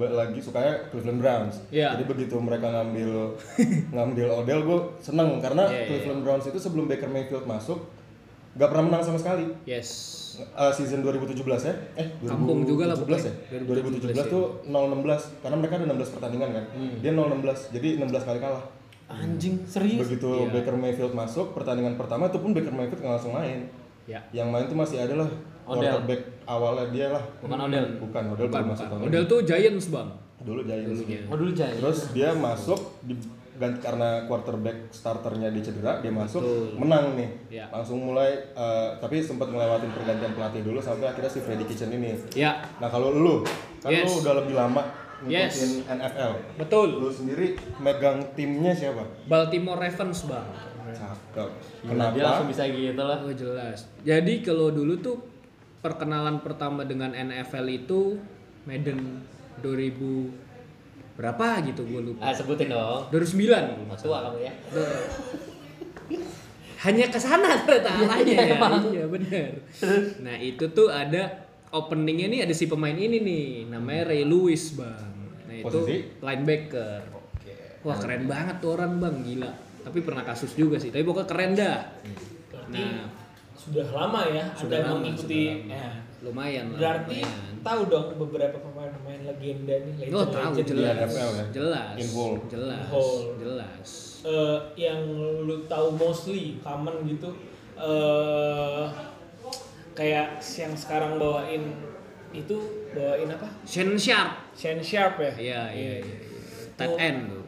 ba- lagi sukanya Cleveland Browns
Iya.
jadi begitu mereka ngambil ngambil Odell gua seneng karena
Iya, iya,
Cleveland Browns itu sebelum Baker Mayfield masuk gak pernah menang sama sekali
Yes.
Eh, season 2017 ya eh 2017
Kampung juga lah
ya
pokoknya.
2017, tuh
iya.
016 karena mereka ada 16 pertandingan kan
Hmm.
dia 016 jadi 16 kali kalah
Anjing, serius.
begitu
Iya.
Baker Mayfield masuk pertandingan pertama itu pun Baker Mayfield nggak langsung main
Ya.
yang main tuh masih ada lah
Odell.
quarterback awalnya dia lah
Bukan Odell.
bukan Odell baru masuk tahun
Model tuh Giants, Bang.
ini. dulu Giants
Oh dulu Jai.
terus dia masuk di, gan- karena quarterback starternya dia cedera dia masuk menang nih
Ya.
langsung mulai eh, tapi sempat ngelewatin pergantian pelatih dulu sampai akhirnya si Freddy Kitchen ini
Ya,
nah kalau lu kan
Yes.
lu udah lebih lama ngikutin
Yes.
NFL
betul.
lu sendiri megang timnya siapa
Baltimore Ravens, Bang.
cakep
Dia
kenapa
langsung bisa gitu lah.
Oh, jelas. Jadi kalau dulu tuh perkenalan pertama dengan NFL itu Madden 2000 berapa gitu gue lupa.
Ah sebutin dong.
2009.
Mas tua kamu ya.
hanya ke sana ternyata arahnya ya. Iya benar. Nah, itu tuh ada openingnya nih ada si pemain ini nih, namanya Ray Lewis, Bang. Nah, itu
Posisi?
linebacker. Wah, keren banget tuh orang, Bang, gila. Tapi pernah kasus juga sih, tapi pokoknya keren dah. Nah,
Sudah lama ya
Sudah
Anda
lama,
mengikuti.
sudah ya.
Nah,
lumayan lah.
berarti
lumayan.
tahu dong beberapa pemain-pemain legenda nih, legend,
Oh, tahu
legend.
jelas.
NFL ya?
Jelas.
Involved.
Jelas.
Involved.
Jelas.
Eh, yang lu tahu mostly common gitu eh kayak yang sekarang bawain itu bawain apa?
Shane Sharp.
Shane Sharp ya?
Iya, iya, iya. Tight end tuh.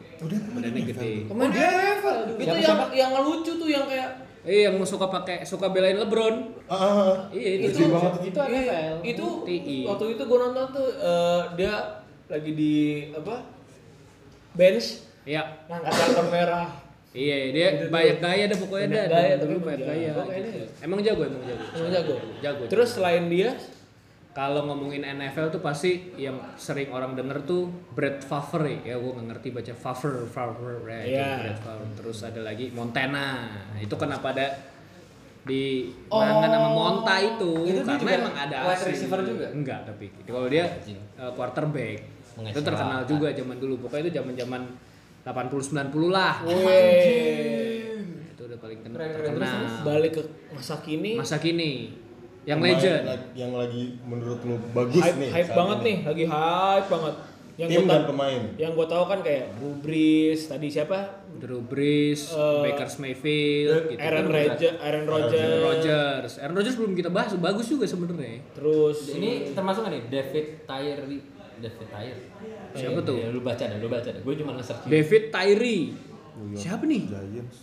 Badannya gede.
Pemain NFL. Itu yang yang lucu tuh yang kayak
Eh, yang suka pakai suka belain LeBron.
Ah, ah, ah.
Iya itu
Gede banget
itu
Gitu
NFL.
itu
TI.
waktu itu gue nonton tuh eh, dia lagi di apa bench
Iya.
ngangkat kartu merah
Iya, dia
Itu tuh.
banyak gaya ada pokoknya
Banyak
ada.
gaya,
dulu
tapi
banyak
jago.
gaya.
Pokoknya
gitu.
dia.
Emang jago, emang jago.
Emang jago
Jago.
terus selain dia
Kalau ngomongin NFL tuh pasti yang sering orang denger tuh Brett Favre ya gue nggak ngerti baca Favre Favre ya itu
Iya.
Brett Favre terus ada lagi Montana Nah, itu kenapa ada di Mangan sama Monta itu,
Oh. Itu dia
karena
juga
emang ada
wide
asing.
receiver juga?
enggak tapi kalau dia uh, quarterback itu terkenal juga zaman dulu pokoknya itu zaman zaman 80 90 lah
Weh.
itu udah paling ken-
Oh. Keren, keren.
terkenal
balik ke masa kini
masa kini yang
Pemain
legend
la- yang lagi menurut lu bagus
hype,
nih
hype
saat
banget
ini.
nih lagi hype banget yang
tim
gue
dan
tahu
pemain
yang gue tahu kan kayak Bubris tadi siapa
Drew Brees,
Eh,
Baker
Eh,
Mayfield, gitu.
Aaron Rodgers Aaron
Aaron
Rodgers
Rodgers. Aaron Rodgers belum kita bahas, bagus juga sebenarnya.
terus
Ini termasuk nggak nih David Tyree? David Tyree.
Siapa tuh?
Ya, lu baca deh, lu baca deh. Gue cuma nge-search.
David Tyree. Siapa nih?
Giants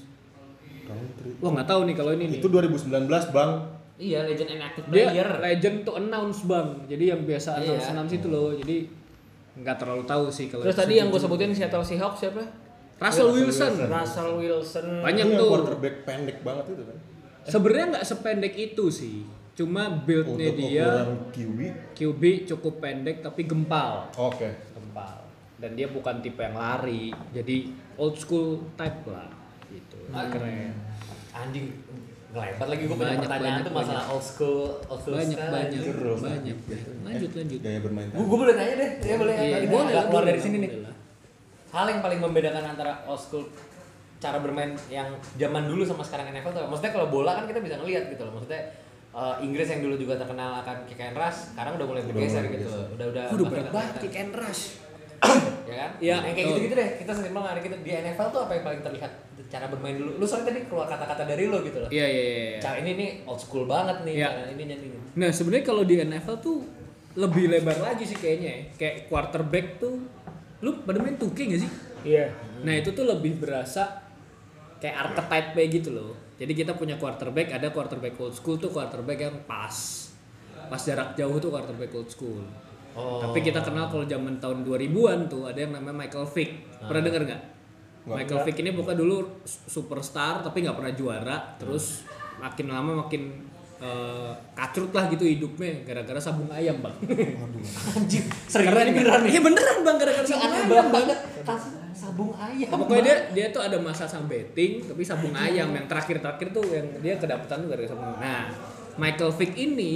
Country
Wah nggak tahu nih kalau ini nih.
itu 2019 bang
Iya, legend and active
Dia
player.
legend to announce bang. Jadi yang
Iya.
biasa announce announce itu loh. Jadi nggak terlalu tahu sih kalau.
terus tadi yang gue sebutin Seattle Seahawks siapa
Iya,
Russell Wilson.
Russell Wilson.
Banyak
Itu yang
tuh.
quarterback pendek banget itu kan.
Sebenarnya nggak sependek itu sih. Cuma build-nya
Untuk
Oh,
dia
ukuran kiwi.
QB cukup pendek tapi gempal.
Oke.
Gempal. Dan dia bukan tipe yang lari. Jadi old school type lah gitu.
Hmm.
Keren.
Anjing ngelebar lagi gue punya
Banyak,
pertanyaan
banyak,
tuh masalah old school, old school
Banyak
style,
banyak
anjing.
banyak. Lanjut lanjut.
Daya Eh, bermain.
Gue gue boleh nanya deh, ya boleh.
Iya,
Tadi
boleh
nggak
lah,
keluar
boleh
dari
lah,
sini nih.
boleh lah.
Hal yang paling membedakan antara old school cara bermain yang zaman dulu sama sekarang NFL tuh, apa? maksudnya kalau bola kan kita bisa ngelihat gitu loh, maksudnya eh, Inggris yang dulu juga terkenal akan kick and rush, sekarang udah mulai bergeser
mulai
gitu loh. Udah udah.
Udah
makin
berat banget
kelihatan.
kick and rush.
ya kan?
Iya,
Yang kayak
betul.
gitu-gitu deh. Kita sering banget kita di NFL tuh apa yang paling terlihat cara bermain dulu. Lu soalnya tadi keluar kata-kata dari lu gitu loh.
Iya iya iya, iya.
Cara ini nih old school banget nih.
Iya.
Cara ini nih. ini.
Nah sebenarnya kalau di NFL tuh lebih lebar lagi sih kayaknya ya. Kayak quarterback tuh lu pada main 2K gak sih?
Iya.
Nah itu tuh lebih berasa kayak archetype kayak gitu loh. Jadi kita punya quarterback, ada quarterback old school tuh quarterback yang pas. Pas jarak jauh tuh quarterback old school. Tapi kita kenal kalau zaman tahun 2000-an tuh ada yang namanya Michael Vick. Pernah dengar nggak? Michael Vick ini pokoknya dulu su- superstar tapi nggak pernah juara. Terus makin lama makin eh, kacrut lah gitu hidupnya gara-gara sabung ayam bang.
Anjir, sering
Keren
ini beneran
nggak?
nih.
Iya beneran bang gara-gara
Anjing
sabung
aneh
ayam
banget.
bang. Nah,
Tas- sabung ayam.
Pokoknya dia dia tuh ada masa sama betting tapi sabung ayam yang terakhir-terakhir tuh yang dia kedapetan tuh gara-gara sabung ayam. Nah, Michael Vick ini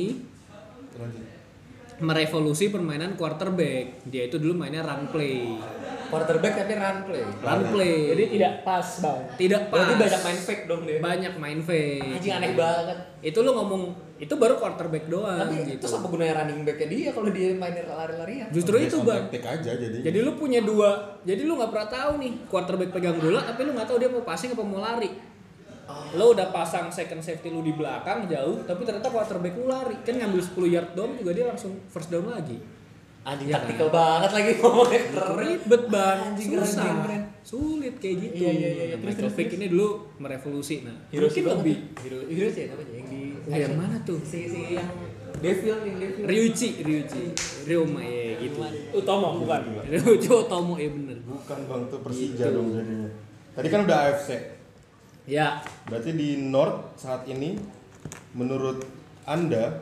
merevolusi permainan quarterback. Dia itu dulu mainnya run play.
quarterback tapi run play.
Run play.
Jadi tidak pas bang.
tidak pas.
Berarti banyak main fake dong dia.
Banyak main fake.
Anjing aneh banget.
Itu lo ngomong itu baru quarterback doang
Tapi
gitu.
terus apa gunanya running back-nya dia kalau dia mainin lari-larian?
Justru itu, Bang.
Tik aja jadi.
Jadi lu punya dua, jadi lu nggak pernah tahu nih quarterback pegang bola, tapi lu nggak tahu dia mau passing apa mau lari. Lo udah pasang second safety lu di belakang jauh, tapi ternyata quarterback lu lari, kan ngambil 10 yard down juga dia langsung first down lagi.
Anjing
Iya.
taktikal banget lagi ngomongnya keren.
Ribet bang,
Ah, Anjing, keren,
susah,
keren, keren.
sulit kayak gitu.
Iya, iya, iya, iya.
Nah,
Terus,
Michael
terus,
Vick ini dulu merevolusi, nah
Heroes
mungkin lebih
Heroes, Heroes ya namanya yang di
Oh, yang mana tuh?
Si si yang Devil nih Devil.
Ryuichi, Ryuichi, Ryoma ya gitu.
Utomo bukan.
Ryuichi Otomo ya bener.
Bukan bang tuh Persija
Gitu.
dong jadinya. Tadi kan udah AFC.
Ya,
Berarti di North saat ini menurut anda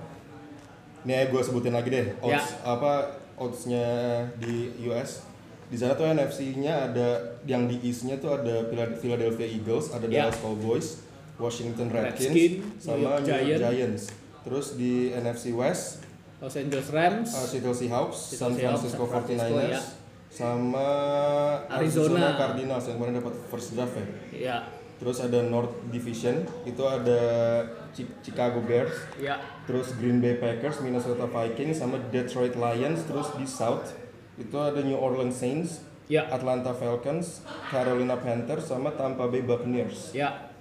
ini gue sebutin lagi deh
Ya.
odds apa oddsnya di US di sana tuh NFC-nya ada yang di East-nya tuh ada Phila- Philadelphia Eagles, ada
Ya.
Dallas Cowboys, Washington Redskins,
Redskin,
sama
New York
New York
Giants.
Giants. Terus di NFC West
Los Angeles Rams,
Uh, Seattle Seahawks, San
Seattle Seahawks,
Francisco
San Francisco,
49ers,
ya.
sama
Arizona.
Arizona Cardinals yang kemarin dapat first draft ya.
ya,
Terus ada North Division, itu ada Chi- Chicago Bears,
ya,
terus Green Bay Packers, Minnesota Vikings, sama Detroit Lions. Terus di South itu ada New Orleans Saints,
Ya.
Atlanta Falcons, Carolina Panthers, sama Tampa Bay Buccaneers.
ya,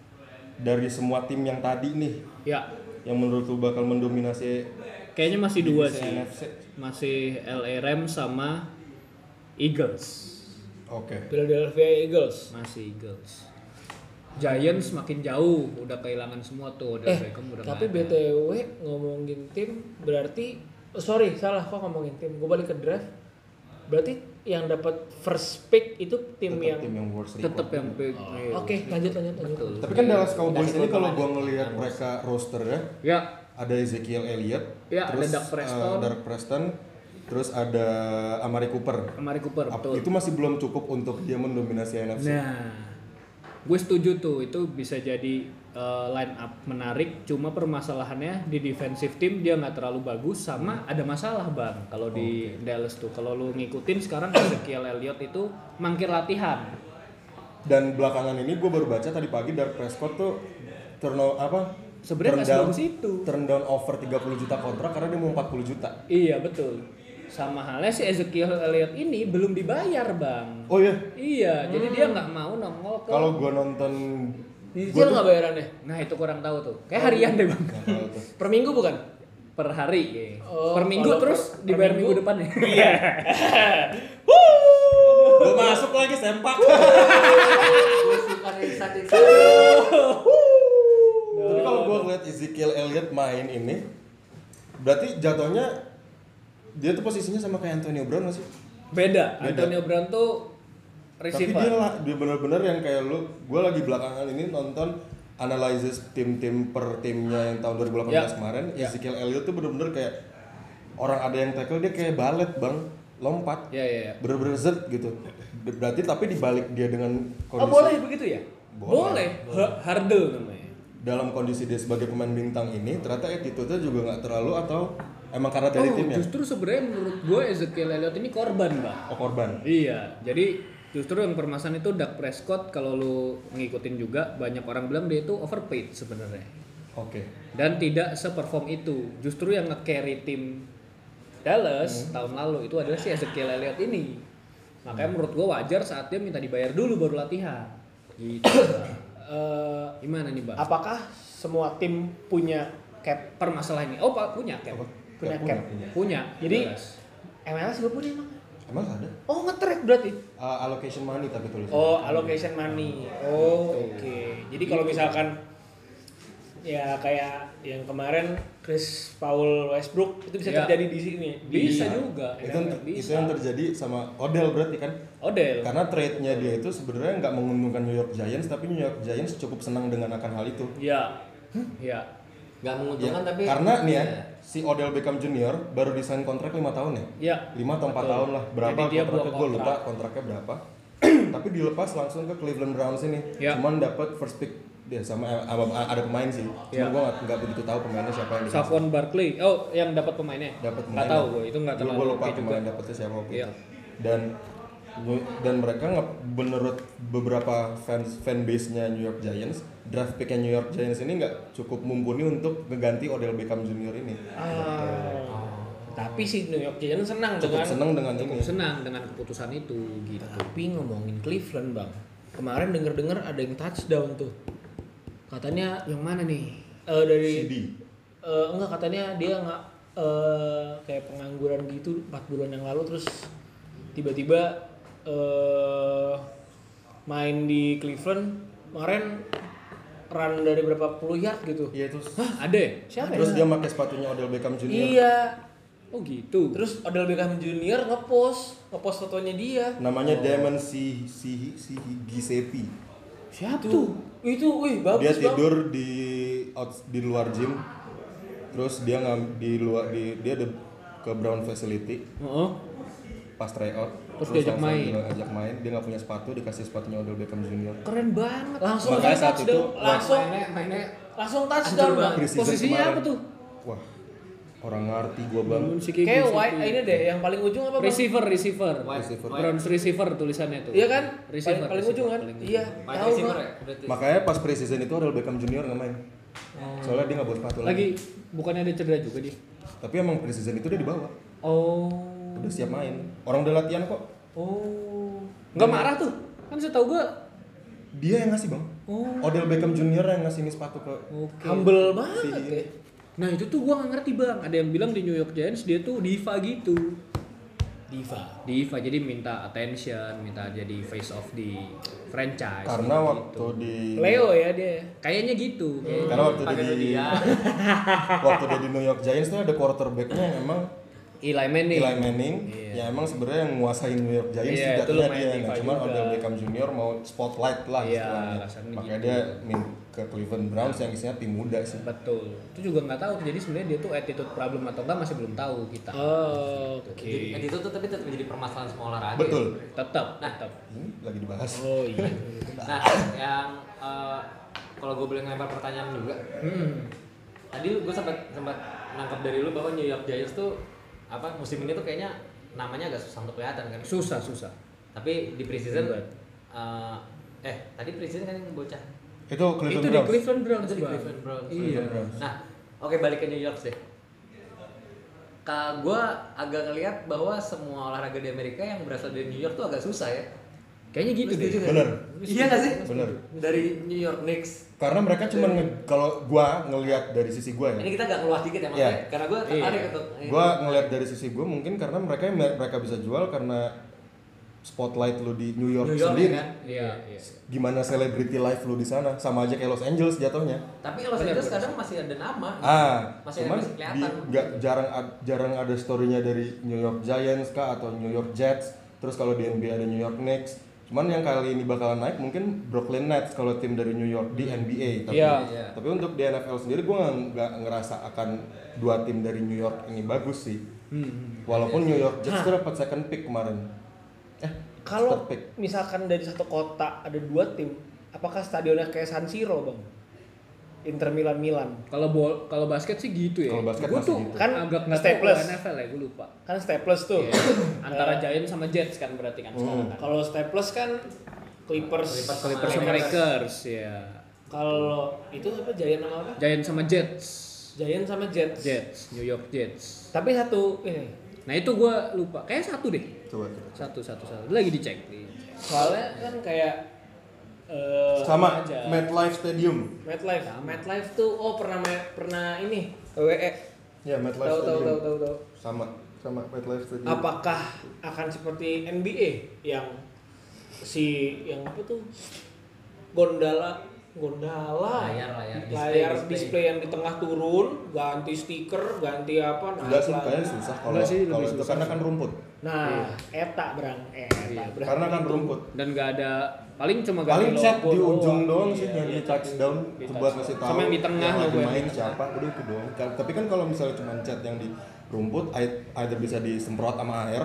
Dari semua tim yang tadi nih,
ya.
yang menurut lu bakal mendominasi
Kayaknya masih dua
divisi
Iya sih.
NFC.
Masih LA Rams sama Eagles.
Oke.
Philadelphia Eagles.
Masih Eagles. Giants makin jauh, udah kehilangan semua tuh, udah
Eh,
Beckham
Nah,
udah
tapi
nggak ada.
BTW ngomongin tim berarti oh, sorry salah kok ngomongin tim. Gue balik ke draft. Berarti yang dapat first pick itu tim
Tetap
yang
tim yang worst record.
tetap yang pick. Iya.
Oke, lanjut lanjut lanjut.
Betul.
Tapi kan Dallas Cowboys ini kalau gua ngelihat mereka roster ya,
Ya,
ada Ezekiel Elliott,
Ya, ada Dak Prescott.
eh, Dak Preston, terus ada Amari Cooper.
Amari Cooper,
Ap-
betul.
Itu masih belum cukup untuk dia mendominasi NFC.
Nah, gue setuju tuh itu bisa jadi uh, line up menarik. Cuma permasalahannya di defensive team dia nggak terlalu bagus
Hmm.
sama ada masalah bang. Kalau di Dallas tuh, kalau lu ngikutin sekarang Ezekiel Elliott itu mangkir latihan.
Dan belakangan ini gue baru baca tadi pagi Dak Prescott tuh turno apa?
Sebenarnya
turn
nggak
down-
sebagus itu.
Turn down over 30 juta kontrak karena dia mau 40 juta.
Iya betul. Sama halnya si Ezekiel Elliott ini belum dibayar bang.
Oh iya,
Iya, jadi dia
Hmm.
nggak mau nongol ke.
kalau gua nonton
Iya,
Dicicil nggak bayarannya?
Nah itu kurang tahu tuh. Kayak harian deh bang.
Nggak tahu tuh.
Per minggu bukan?
Per hari, ya.
Oh,
per minggu
kalau per-
terus
per
dibayar
minggu.
minggu, depan ya. Iya.
Gua masuk lagi sempak.
Gue suka dari saat itu.
Tapi kalau gua ngeliat Ezekiel Elliott main ini, berarti jatuhnya dia tuh posisinya sama kayak Antonio Brown masih.
Beda.
Beda.
Antonio Brown tuh
Tapi dia, la- dia bener-bener yang kayak lu, gue lagi belakangan ini nonton analisis tim-tim per timnya yang tahun 2018 kemarin, Ezekiel Elliott tuh bener-bener kayak orang ada yang tackle dia kayak balet bang, lompat,
Ya ya. ya.
bener-bener zet gitu. Berarti tapi dibalik dia dengan
Oh
kondisi
boleh begitu ya?
Boleh.
Boleh. Ha- Hardle namanya.
dalam kondisi dia sebagai pemain bintang ini, ternyata attitude-nya juga nggak terlalu atau emang karena dari
Oh,
timnya?
justru sebenarnya menurut gue Ezekiel Elliott ini korban bang.
Oh korban.
Iya, jadi justru yang permasalahan itu Dak Prescott kalau lu ngikutin juga banyak orang bilang dia itu overpaid sebenarnya
Oke.
dan tidak seperform itu. Justru yang nge-carry tim Dallas tahun lalu itu adalah si Ezekiel Elliott ini. Makanya menurut gua wajar saat dia minta dibayar dulu baru latihan. Gitu. Bang.
Eh,
Gimana nih, Bang?
apakah semua tim punya cap?
Permasalahan ini. Oh, Pak, punya cap.
Apa?
Punya
Nggak
cap.
punya.
Punya.
Jadi-
jelas.
MLS juga punya emang?
Emang ada?
Oh ngetrek berarti?
Uh, allocation money tapi tulisannya.
Oh allocation money. Oh oke. Jadi kalau
Iya.
misalkan ya kayak yang kemarin Chris Paul Westbrook itu bisa
Ya.
terjadi di sini. Di-
bisa juga.
itu, yang ter- itu yang terjadi sama Odell berarti kan
Odell.
karena trade-nya dia itu sebenarnya nggak menguntungkan New York Giants tapi New York Giants cukup senang dengan akan hal itu
Ya. Ya.
Gak menguntungkan
Ya,
tapi
karena nih ya
Iya.
si Odell Beckham Jr baru desain kontrak lima tahun ya
Ya.
lima atau empat
Betul.
tahun lah berapa
Jadi dia
kontraknya
dua
gue
kontrak.
lupa kontraknya berapa tapi dilepas langsung ke Cleveland Browns ini
Ya.
cuman dapat first pick dia sama eh, sama- ada pemain sih
Ya.
cuma gue nggak begitu tahu pemainnya siapa yang dikasih.
Saquon Barkley. Oh, yang dapat pemainnya.
dapat
Enggak tahu gue, itu enggak terlalu
gue lupa
oke juga.
kemarin dapetnya siapa waktu
Iya.
itu. dan gua- dan mereka nggak menurut beberapa fans fanbase nya New York Giants draft pick nya New York Giants ini nggak cukup mumpuni untuk mengganti Odell Beckham Jr ini
Ah. Tapi si New York Giants senang
cukup
dengan
seneng dengan ini
Senang dengan keputusan itu gitu.
Tapi ngomongin Cleveland bang, kemarin denger-denger ada yang touchdown tuh. Katanya
Yang mana nih?
eh, dari
CD
eh, enggak katanya dia nggak eh, kayak pengangguran gitu 4 bulan yang lalu terus tiba-tiba eh, main di Cleveland kemarin run dari berapa puluh yard gitu.
iya terus
Ada ya?
Siapa
terus
ya?
dia pakai sepatunya Odell Beckham Jr
Iya.
Oh gitu.
Terus Odell Beckham Junior ngepost, ngepost fotonya dia.
namanya Damon si si si Giuseppe
Siapa tuh? Itu, wih bagus
dia
Bang.
tidur di out- di luar gym terus dia ngam di luar di dia ada ke Brown Facility
Heeh.
pas tryout
Terus diajak
langsung
main.
diajak main dia nggak punya sepatu dikasih sepatunya Odell Beckham Junior
Keren banget. Langsung
Makanya
touchdown.
saat itu,
langsung
mainnya mainnya
langsung touchdown bang.
Preseason
Posisinya
kemarin.
apa tuh?
wah orang ngerti gua bang
Si Kigo,
Kayak
si
wide
Kigo.
ini deh yang paling ujung apa bang?
Receiver, receiver.
Receiver.
Browns receiver tulisannya tuh.
Iya kan?
Receiver.
paling, paling
receiver,
ujung kan?
paling ujung.
Iya.
main
tahu
receiver
gua.
ya. Berarti
makanya pas preseason itu Odell Beckham Junior nggak main
Oh.
soalnya dia nggak bawa sepatu lagi.
Lagi bukannya ada cedera juga dia?
tapi emang preseason itu dia dibawa
Oh.
udah siap main orang udah latihan kok
Oh. Enggak marah tuh. Kan saya tahu gua
dia yang ngasih bang
Oh.
Odell Beckham Junior yang ngasih ini sepatu ke
Humble
si
banget ya.
Nah, itu tuh gua nggak ngerti, Bang. Ada yang bilang di New York Giants dia tuh diva gitu.
Diva.
Diva jadi minta attention, minta jadi face of di franchise.
karena
gitu.
waktu di
Leo ya dia. Hmm. ya.
kayaknya gitu.
karena waktu dia
pakai
di
dia.
waktu dia di New York Giants tuh ada quarterbacknya yang emang
Eli Manning.
Eli Manning ya emang sebenarnya yang nguasain New York Giants sejatinya
Iya, itu lumayan
dia
diva
nah, cuman
juga.
Odell Beckham Junior mau spotlight lah
Iya,
istilahnya.
alasannya
makanya
gitu. Iya.
dia min ke Cleveland Browns yang isinya tim muda sih
Betul. Itu juga nggak tahu. tuh. Jadi sebenarnya dia tuh attitude problem atau enggak masih belum tahu kita.
Oh, oke.
Jadi attitude tuh tapi tetap menjadi permasalahan semua olahraga.
betul
Tetap, tetap.
ini lagi dibahas
Oh iya.
Nah, yang eh, kalau gue boleh ngelempar pertanyaan juga, Hmm. tadi gue sempat sempat nangkap dari lu bahwa New York Giants tuh apa musim ini tuh kayaknya namanya agak susah untuk kelihatan kan.
Susah, susah.
Tapi di preseason
Berat.
eh, eh tadi preseason kan yang bocah.
itu Cleveland
itu
Browns
di Cleveland Browns.
Itu di
Bang.
Cleveland Browns.
Iya.
Cleveland Browns.
Nah, oke balik ke New York deh. Kak, gue agak ngeliat bahwa semua olahraga di Amerika yang berasal dari New York tuh agak susah ya.
Kayaknya gitu
Lu
deh.
setuju nggak?
Bener.
Iya nggak sih?
Bener.
Dari New York Knicks
karena mereka cuma nge- kalau gua ngelihat dari sisi gua ya
Ini kita agak ngeluas dikit ya maksudnya,
Iya.
karena gue tertarik untuk ini.
gue ngeliat dari sisi gue mungkin karena mereka mereka bisa jual karena spotlight lu di New York,
New York
sendiri
ya kan.
Iya, iya.
gimana celebrity life lu di sana sama aja kayak Los Angeles jatuhnya
Tapi Los Angeles kadang masih ada nama.
ah
Masih
cuman
masih kelihatan.
di- nggak jarang ad- jarang ada storynya dari New York Giants kah atau New York Jets terus kalau di NBA ada New York Knicks Cuman yang kali ini bakalan naik mungkin Brooklyn Nets kalau tim dari New York di NBA. Tapi,
Iya.
tapi untuk di NFL sendiri gue nggak nggak ngerasa akan dua tim dari New York ini bagus sih.
Iya
Hmm.
Walaupun New York Jets tuh dapat second pick kemarin. Eh, third
Kalau
pick.
misalkan dari satu kota ada dua tim, apakah stadionnya kayak San Siro bang? Inter Milan Milan.
Kalau bol, kalau basket sih gitu ya.
Kalau basket
Gua
masih
tuh
gitu.
kan
Kan
agak nggak tahu
staples.
kalau NFL ya, gue lupa.
Kan Staples tuh.
Iya.
Eh.
Antara Giants sama Jets kan berarti
Oh,
kan sekarang kan.
Kalau Staples kan Clippers.
Clippers-
Clippers sama Lakers ya.
Kalau itu apa Giant sama apa?
Giants sama Jets.
Giant sama Jets.
Jets, New York Jets.
Tapi satu iya. ini
Nah itu gua lupa, kayaknya satu deh.
Coba coba.
Satu, satu, satu. Lagi dicek.
soalnya kan kayak eh
Sama
aja.
MetLife Stadium.
MetLife. MetLife tuh oh pernah ma- pernah ini WWE.
Ya, MetLife
Tahu tahu
Stadium.
tahu tahu tahu.
Sama sama MetLife Stadium.
Apakah akan seperti NBA yang si yang apa tuh Gondala Gondala
Layar, layar, display,
layar display,
display.
yang di tengah turun ganti stiker ganti apa nah
Enggak sih, kayaknya susah kalau
Enggak sih, lebih
kalau itu
susah
karena
sih.
kan rumput.
nah eta berang eh, eta berang
Karena kan rumput.
Dan nggak ada paling cuma
Paling
ganti
set
logo
di ujung doang
doang.
sih
Iya,
yang di
iya,
touchdown
di
itu buat
touchdown.
ngasih tahu.
Sama yang di tengah
yang lagi
logo ya. yang
main
di tengah.
siapa, udah itu doang. Ka- Tapi kan kalau misalnya cuma cat yang di rumput ai- either bisa disemprot sama air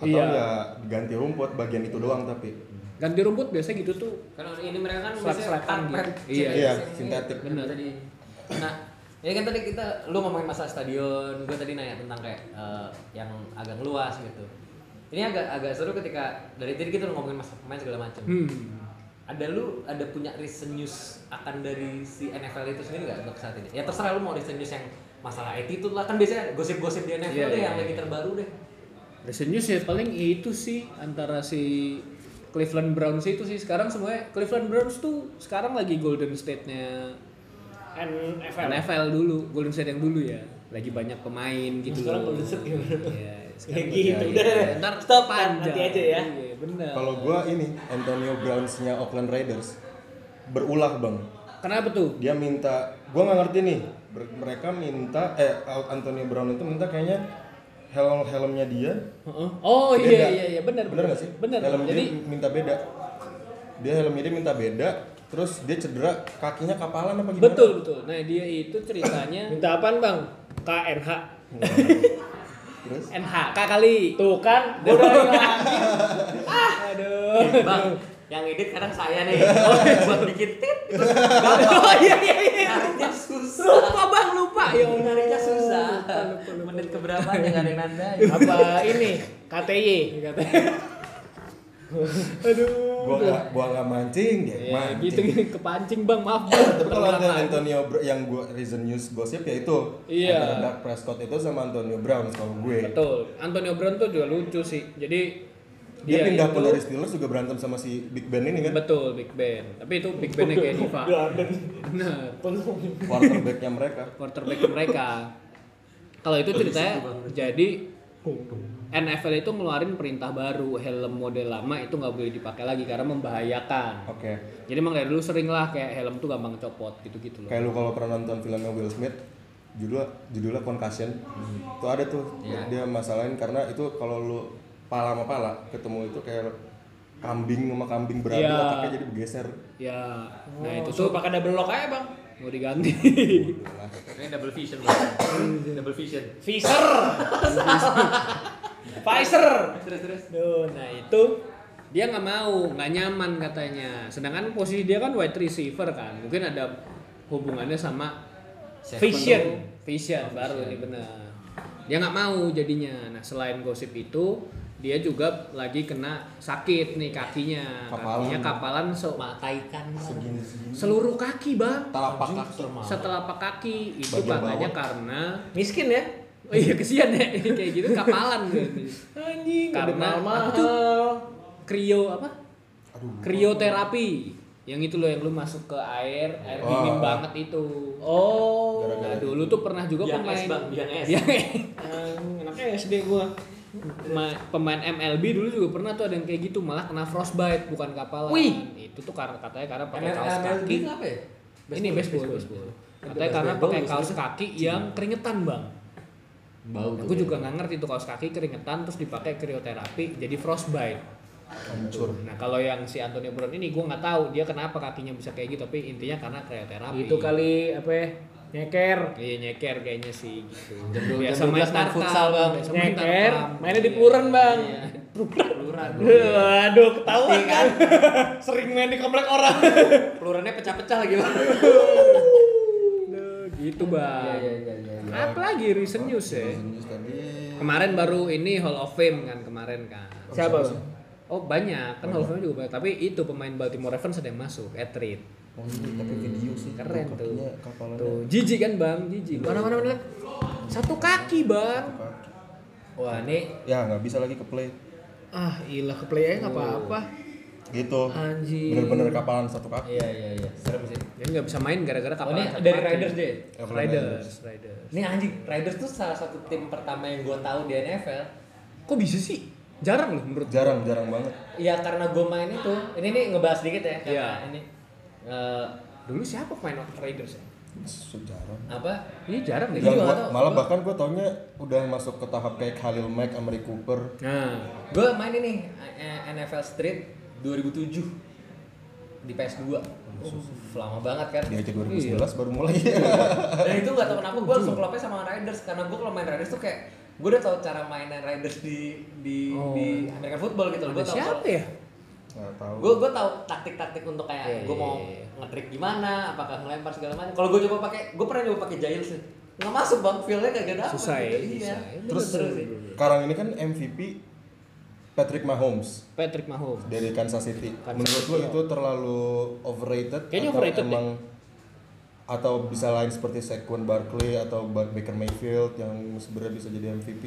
atau
Iya.
ya ganti rumput bagian itu doang tapi.
Ganti rumput biasa gitu tuh.
Karena ini mereka kan
Selap-
biasanya
selapan
karpet,
gitu. Iya,
CPS
iya,
ini.
sintetik.
Bener. Tadi. Nah, ini kan tadi kita lu ngomongin masalah stadion, gue tadi nanya tentang kayak eh, yang agak luas gitu. Ini agak agak seru ketika dari tadi kita ngomongin masalah pemain segala macam.
Hmm.
Ada lu ada punya recent news akan dari si NFL itu sendiri nggak untuk saat ini? Ya terserah lu mau recent news yang masalah attitude lah kan biasanya gosip-gosip di NFL
Iya,
deh
iya,
yang
iya.
lagi terbaru deh.
Recent news ya paling itu sih antara si Cleveland Browns itu sih sekarang semuanya Cleveland Browns tuh sekarang lagi Golden State-nya
NFL
NFL dulu, Golden State yang dulu ya. Lagi banyak pemain gitu.
Sekarang
loh.
Golden State gimana?
Iya,
ya
sekarang
gitu
Iya,
udah
iya. Ntar stop,
nanti
panjang.
aja ya
Iya, benar.
Kalau gua ini Antonio Browns-nya Oakland Raiders berulah, Bang.
Kenapa tuh?
Dia minta, gua nggak ngerti nih. ber- mereka minta eh Antonio Brown itu minta kayaknya helm helmnya dia
Heeh. Oh iya
Beda.
iya iya benar
bener gak sih?
Benar.
Helm
Jadi
dia minta beda. Dia helmnya dia minta beda, terus dia cedera kakinya kapalan apa gimana?
betul betul. Nah, dia itu ceritanya
minta apaan bang KNH
Terus
NHK kali.
tuh kan gua udah bilang.
Aduh.
Bang, yang edit kadang saya nih buat bikin tit. terus gampang.
Oh iya iya iya.
Nyarinya susah.
Lupa Bang, lupa. Ya Allah.
Nyarinya susah. Menit keberapa nih nggak ada yang nandain.
apa ini KTY
Aduh.
gua nggak gua nggak mancing dia
Ya,
mancing.
gitu gitu kepancing Bang, maaf Bang.
Tapi kalau ada Antonio Br- yang gua reason news gosip ya itu
Iya.
antara Dak Prescott itu sama Antonio Brown kalau gue.
Betul. Antonio Brown tuh juga lucu sih. Jadi
Dia, pindah pun
Iya, itu-
dari Steelers juga berantem sama si Big Ben ini kan.
Betul, Big Ben. Tapi itu Big Ben-nya kayak Diva. Benar.
Quarterbacknya mereka.
quarterback mereka. Kalau itu ceritanya jadi NFL itu ngeluarin perintah baru helm model lama itu nggak boleh dipakai lagi karena membahayakan.
Oke.
Jadi emang dari dulu sering lah kayak helm tuh gampang copot gitu-gitu loh.
Kayak lu kalau pernah nonton filmnya Will Smith, judulnya judulnya Concussion. Tuh ada tuh dia masalahin karena itu kalau lu pala sama pala ketemu itu kayak kambing sama kambing beradu
Iya.
otaknya jadi bergeser.
Ya, nah itu
itu
tuh
tuh pakai double lock aja bang
mau diganti.
Ini double vision, Bang. double vision.
Pfizer Pfizer
Terus terus.
Duh, nah itu
dia nggak mau, nggak nyaman katanya. Sedangkan posisi dia kan wide receiver kan, mungkin ada hubungannya sama
Vision.
Oh,
Vision baru ini benar. Dia nggak mau jadinya. Nah selain gosip itu, dia juga lagi kena sakit nih kakinya.
Kapalan.
Kakinya kapalan se-
Mata ikan.
Segini-segini.
seluruh kaki bang.
Telapak kaki.
Setelah kaki itu
Ah. Bagian
katanya
bawah.
karena
miskin ya
Oh iya kesian ya kayak gitu kapalan gitu.
anjing
Karena-
karena mahal
Krio apa?
Aduh.
Krioterapi. Yang itu loh yang lu masuk ke air, air
Oh.
dingin banget itu.
oh
Nah,
Gara-gara
dulu tuh pernah juga
Biang
pemain
es, Bang, biang es.
Biang-
Em, Eh, enaknya SD gua
Ma- pemain MLB dulu juga pernah tuh ada yang kayak gitu malah kena frostbite bukan kapalan
Wih.
itu tuh karena katanya karena pakai
ML-
kaos
MLB
kaki
itu apa ya?
ini baseball, baseball. katanya karena
baseball,
pakai
baseball.
kaos kaki yang keringetan bang
Bau.
Oh, gitu.
aku juga nggak ngerti tuh kaos kaki keringetan terus dipakai krioterapi jadi frostbite
hancur
Nah kalau yang si Antonio Brown ini gue nggak tahu dia kenapa kakinya bisa kayak gitu tapi intinya karena kayak terapi.
Itu kali apa ya? Nyeker.
Iya nyeker kayaknya sih gitu.
Jam 12 main futsal, Bang.
Nyeker, mainnya di Puren, Bang.
Iya.
Peluran.
Aduh, ketahuan
Iya,
kan.
kan?
Sering main di komplek orang.
Pelurannya pecah-pecah lagi, Bang.
Gitu bang. Apa lagi recent news ya?
Terus tadi
Kemarin baru ini Hall of Fame kan kemarin kan.
Siapa, Bang?
Oh banyak kan Hall of Fame juga banyak tapi itu pemain Baltimore Ravens ada yang masuk Etrit.
oh iya tapi video sih
Keren tuh.
kakinya, kepalanya
Tuh jijik kan bang jijik. Mana mana mana. Satu kaki bang.
kaki.
Wah, ini
ya nggak bisa lagi ke play
Ah ilah ke play aja nggak apa-apa.
gitu
Anjing.
bener-bener kapalan satu kaki
iya iya iya. Serem sih.
Jadi nggak bisa main gara-gara
Oh,
kapal.
ini
angkat
dari
mati.
Riders deh.
Oakland
Riders, Riders.
Ini anjing, Riders tuh salah satu tim pertama yang gue tahu di NFL.
Kok bisa sih? Jarang loh menurut gua.
jarang jarang banget
Ya karena gue main itu. Ini nih ngebahas dikit ya karena
Iya.
ini eh,
Dulu siapa pemain Riders ya?
sejarang
apa?
Ini jarang
Iya.
deh.
Ya,
juga
gua-
nggak tahu.
malah
Gua-
bahkan gue taunya udah masuk ke tahap kayak Khalil Mack, Amari Cooper
Nah,
Gue main ini eh, NFL Street 2007 di PS2.
Oh,
Uff, lama banget kan.
di aja 2011 baru mulai
Dan itu gak tau kenapa gue langsung klopnya sama Riders karena gue kalau main Riders tuh kayak gue udah tau cara mainan Riders di di
Oh.
di American football gitu loh. Gue
ada siapa ya?
nggak tahu
Gue gue tau taktik-taktik untuk kayak
Iya,
gue
iya,
mau
iya.
ngetrik gimana, apakah ngelempar segala macam. Kalau gue coba pakai, gue pernah coba pakai Giles sih. Nggak masuk bang, feel-nya kagak dapet.
Susah ya,
gitu. Iya.
susah ya.
Terus
Terus-
terus sih.
sekarang ini kan MVP Patrick Mahomes
Patrick Mahomes.
dari Kansas City
Kansas
menurut gue
City,
itu terlalu overrated
Kayaknya
atau
overrated
emang atau bisa lain seperti Saquon Barkley atau Ba- Baker Mayfield yang sebenarnya bisa jadi MVP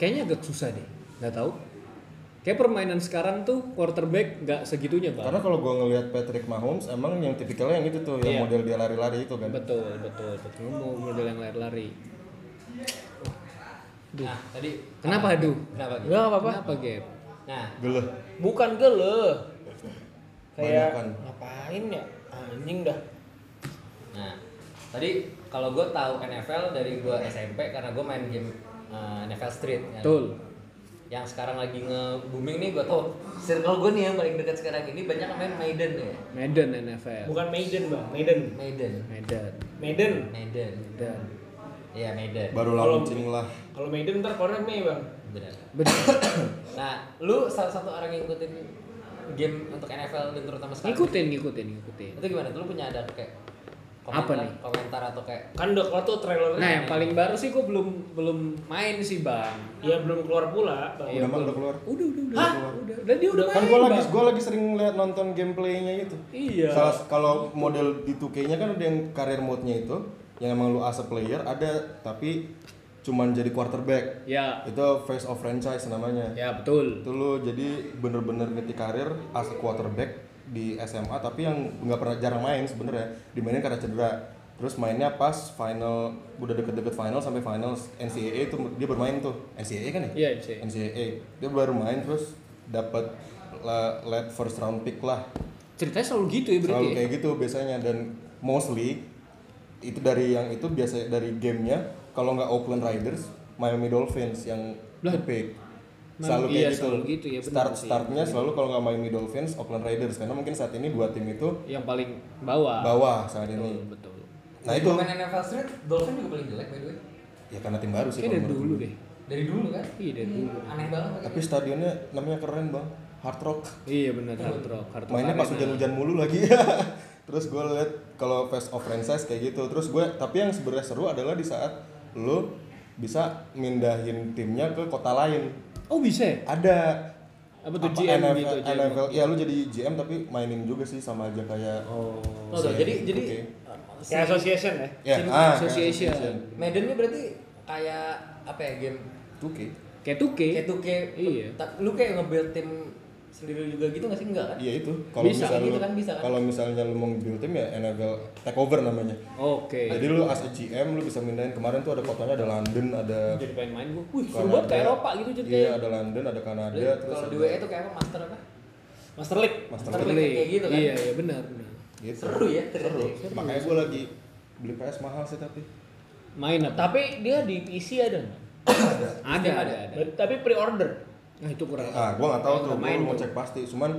Kayaknya agak susah deh. Nggak tahu. Kayak permainan sekarang tuh quarterback nggak segitunya
karena
bang.
kalau gue ngelihat Patrick Mahomes emang yang tipikalnya yang itu tuh yang
Iya.
model dia lari-lari itu kan
Betul, betul, betul. Mau model yang lari-lari.
Nah tadi
Kenapa aduh?
Kenapa?
Nggak apa-apa. Kenapa Gap?
Nah
geleh
Bukan gele. Kayak
Banyakan.
ngapain ya? Anjing dah.
Nah, tadi kalau gue tahu NFL dari gue SMP karena gue main game uh, NFL Street. kan.
Betul.
Yang sekarang lagi nge booming nih gue tau. Circle gue nih yang paling dekat sekarang ini banyak yang main Maiden ya.
Madden NFL.
Bukan Maiden, Bang. Maiden.
Maiden.
Madden.
Maiden.
Maiden.
Maiden.
Iya Maiden.
baru
Kalau-
launching lah
Kalau Maiden ntar keluarnya Mei, Bang.
Benar.
Bener.
Nah, lu salah satu orang yang ngikutin game untuk NFL dan terutama sekarang.
ngikutin, ngikutin, ngikutin.
Itu gimana? Lu punya ada kayak
Apa
komentar,
nih?
komentar atau kayak
Kan udah keluar tuh trailernya.
Nah, yang paling baru sih gue belum belum main sih bang.
Ya belum keluar pula, Bang.
udah emang udah keluar
Iya, Udah, udah, udah. Udah, udah dia udah,
kan
main.
gue lagi
Bang.
gua lagi sering lihat nonton gameplaynya itu
Iya.
salah kalau model di 2K-nya kan ada yang karir mode-nya itu yang emang lu as a player ada tapi cuman jadi quarterback
Ya,
itu face of franchise namanya
ya betul.
itu lu jadi bener-bener ngetik karir as a quarterback di SMA tapi yang nggak pernah jarang main sebenarnya dimainin karena cedera terus mainnya pas final udah deket-deket final sampai final NCAA itu dia bermain tuh NCAA kan ya
Iya, MC.
NCAA dia baru main terus dapat la- late first round pick lah
Ceritanya selalu gitu ya berarti.
selalu
ya?
kayak gitu biasanya dan mostly itu dari yang itu biasa dari gamenya kalau nggak Oakland Raiders Miami Dolphins yang
Lah.
the pick
Nah,
selalu
iya,
kayak gitu,
selalu gitu ya, benar
start
sih.
startnya selalu kalau nggak Miami Dolphins Oakland Raiders karena mungkin saat ini dua tim itu
Yang paling bawah.
bawah saat
Ah. Betul,
ini
betul.
nah itu
main NFL Street, Dolphin juga paling jelek by the way.
ya karena tim baru sih
Kayaknya dari
kalau
dulu
menurut
deh.
Dari dulu kan?
Iya, dari dulu.
Aneh banget.
gue. tapi stadionnya namanya keren bang Hard Rock
Iya benar hard rock, hard rock
mainnya pas
arena.
hujan-hujan mulu lagi terus gue liat kalau face of franchise kayak gitu terus gue tapi yang sebenarnya seru adalah di saat lo bisa mindahin timnya ke kota lain
Oh bisa ya?
ada
Apa tuh GM
NFL,
gitu, GM?
NFL ya lu jadi GM tapi mainin juga sih sama aja kayak
Oh.
Oh, tuh, jadi jadi
Oke.
Kayak association ya.
ya
Tim
ah,
association.
Medan ini berarti kayak apa ya game
tuke
Kayak tuke.
kayak tuh kayak
Iya.
ta- lu kayak nge-build tim sendiri juga gitu nggak sih enggak kan?
iya itu kalau
Bisa,
misalnya
gitu
lu-
kan, bisa kan?
kalau misalnya lu mau build tim ya NFL takeover namanya
Oke.
jadi lu as a GM lu bisa mindahin kemarin tuh ada kotanya ada London ada
Jadi pengen main gua. Wih, seru
Kanada.
banget kayak Eropa gitu Iya, jadi.
Iya, ada London, ada Kanada,
Lu
terus
Kalau di
ada-
WE tuh kayak apa master apa?
Master League.
Master
Master
League.
League kayak gitu kan.
Iya, iya benar. benar.
Gitu.
Seru ya ternyata.
Seru.
ya.
Makanya gue lagi beli PS mahal sih tapi.
Main apa?
Tapi dia di PC ada nggak?
Ada, ada, ada.
Tapi pre-order.
Nah, itu kurang.
Ah, gua nggak tahu
Yang
tuh,
main
gua mau
tuh.
cek pasti. Cuman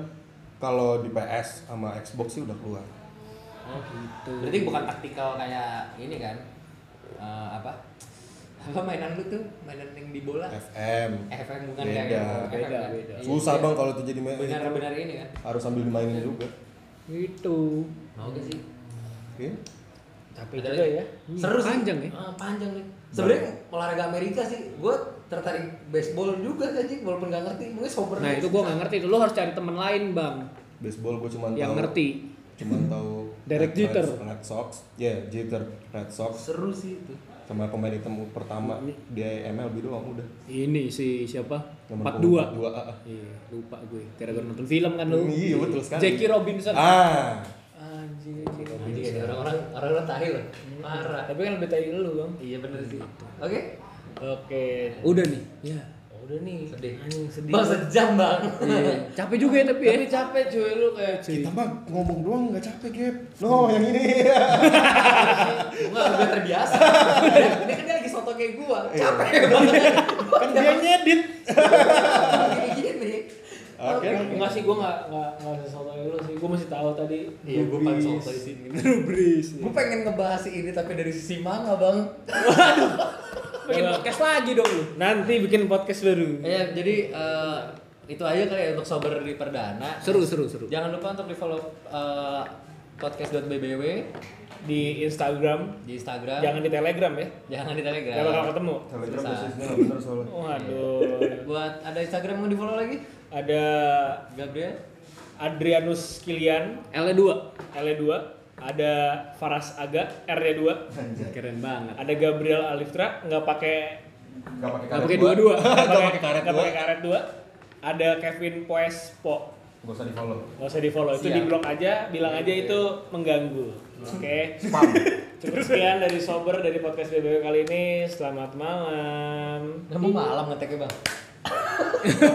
kalau di PS sama Xbox sih udah keluar.
Oh
Iya.
gitu. Berarti bukan taktikal kayak ini kan? Eh, apa? Apa mainan lu tuh? Mainan yang di bola?
FM.
FM bukan
Beda,
kayak yang
beda,
FM kan?
beda.
Iya,
Susah
iya.
bang kalau itu jadi main itu
Benar-benar ini kan?
harus sambil dimainin juga.
Itu.
Mau gak sih?
Oke.
Tapi
Ada
juga
lagi?
ya.
Hmm,
Seru sih.
panjang ya.
Ah, Iya. panjang nih. Sebenarnya olahraga Amerika sih, gue tertarik baseball juga sih, walaupun gak ngerti. Mungkin sober.
Nah, itu gua nggak ngerti. Lu harus cari teman lain, Bang,
Baseball gua cuman
yang
tahu-
ngerti.
Cuman tahu
Derek
Red-
Jeter.
Red Sox. Ya, Jeter, Red Sox
Seru sih itu.
sama pemain hitam pertama di MLB doang udah.
Ini si siapa?
Nomor
42.
42, ah, ah.
Iya, lupa gue. Gara-gara nonton film kan lu.
Iya, betul sekali.
Jackie Robinson.
Ah,
Anjing.
Jadi kayak orang-orang orang-orang tahi loh. Parah.
Tapi kan lebih tadi lu, Bang.
Iya bener sih. Iya. Oke.
Oke.
Udah nih. Ya.
Udah nih.
Sedih.
Anjing sedih.
Bang sejam bang.
Iya. Capek juga ya tapi ya.
Tapi capek cuy lu kayak cuy.
kita mah ngomong doang nggak capek, Gap. No, yang ini.
Gua udah terbiasa. Ini kan dia lagi soto kayak gua.
Iya.
Capek
kan dia yang ngedit.
banget gini.
Oke.
Enggak sih gua enggak enggak enggak sesuatu lu sih. Gua masih tahu tadi.
Iya, gua pan soto di sini.
Rubris.
Gua pengen ngebahas ini tapi dari sisi manga bang.
Bikin podcast lagi dong lu.
Nanti bikin podcast baru.
Ya jadi eh, itu aja kali ya untuk sober di perdana.
Seru seru seru.
Jangan lupa untuk di follow eh, podcast.bbw
Di Instagram,
di Instagram.
jangan di Telegram ya.
Jangan di Telegram.
Gak bakal ketemu.
Telegram basisnya nggak bener soalnya.
Waduh.
Buat ada Instagram mau di follow lagi?
Ada
Gabriel.
Adrianus Kilian,
L2.
L2, ada Faras Aga, R2,
Keren banget.
ada Gabriel Aliftra, nggak pakai
Nggak pakai
Gak pakai dua-dua.
Nggak pakai karet
nggak
dua.
pakai karet dua, ada Kevin Poespo,
Gak usah di follow.
nggak usah di follow, itu
Siap.
di blog aja,
Iya,
bilang aja itu mengganggu, oke?
Nah, Spam.
Cukup sekian dari Sober dari podcast BBW kali ini. Selamat malam.
Kamu malam ngeteknya bang.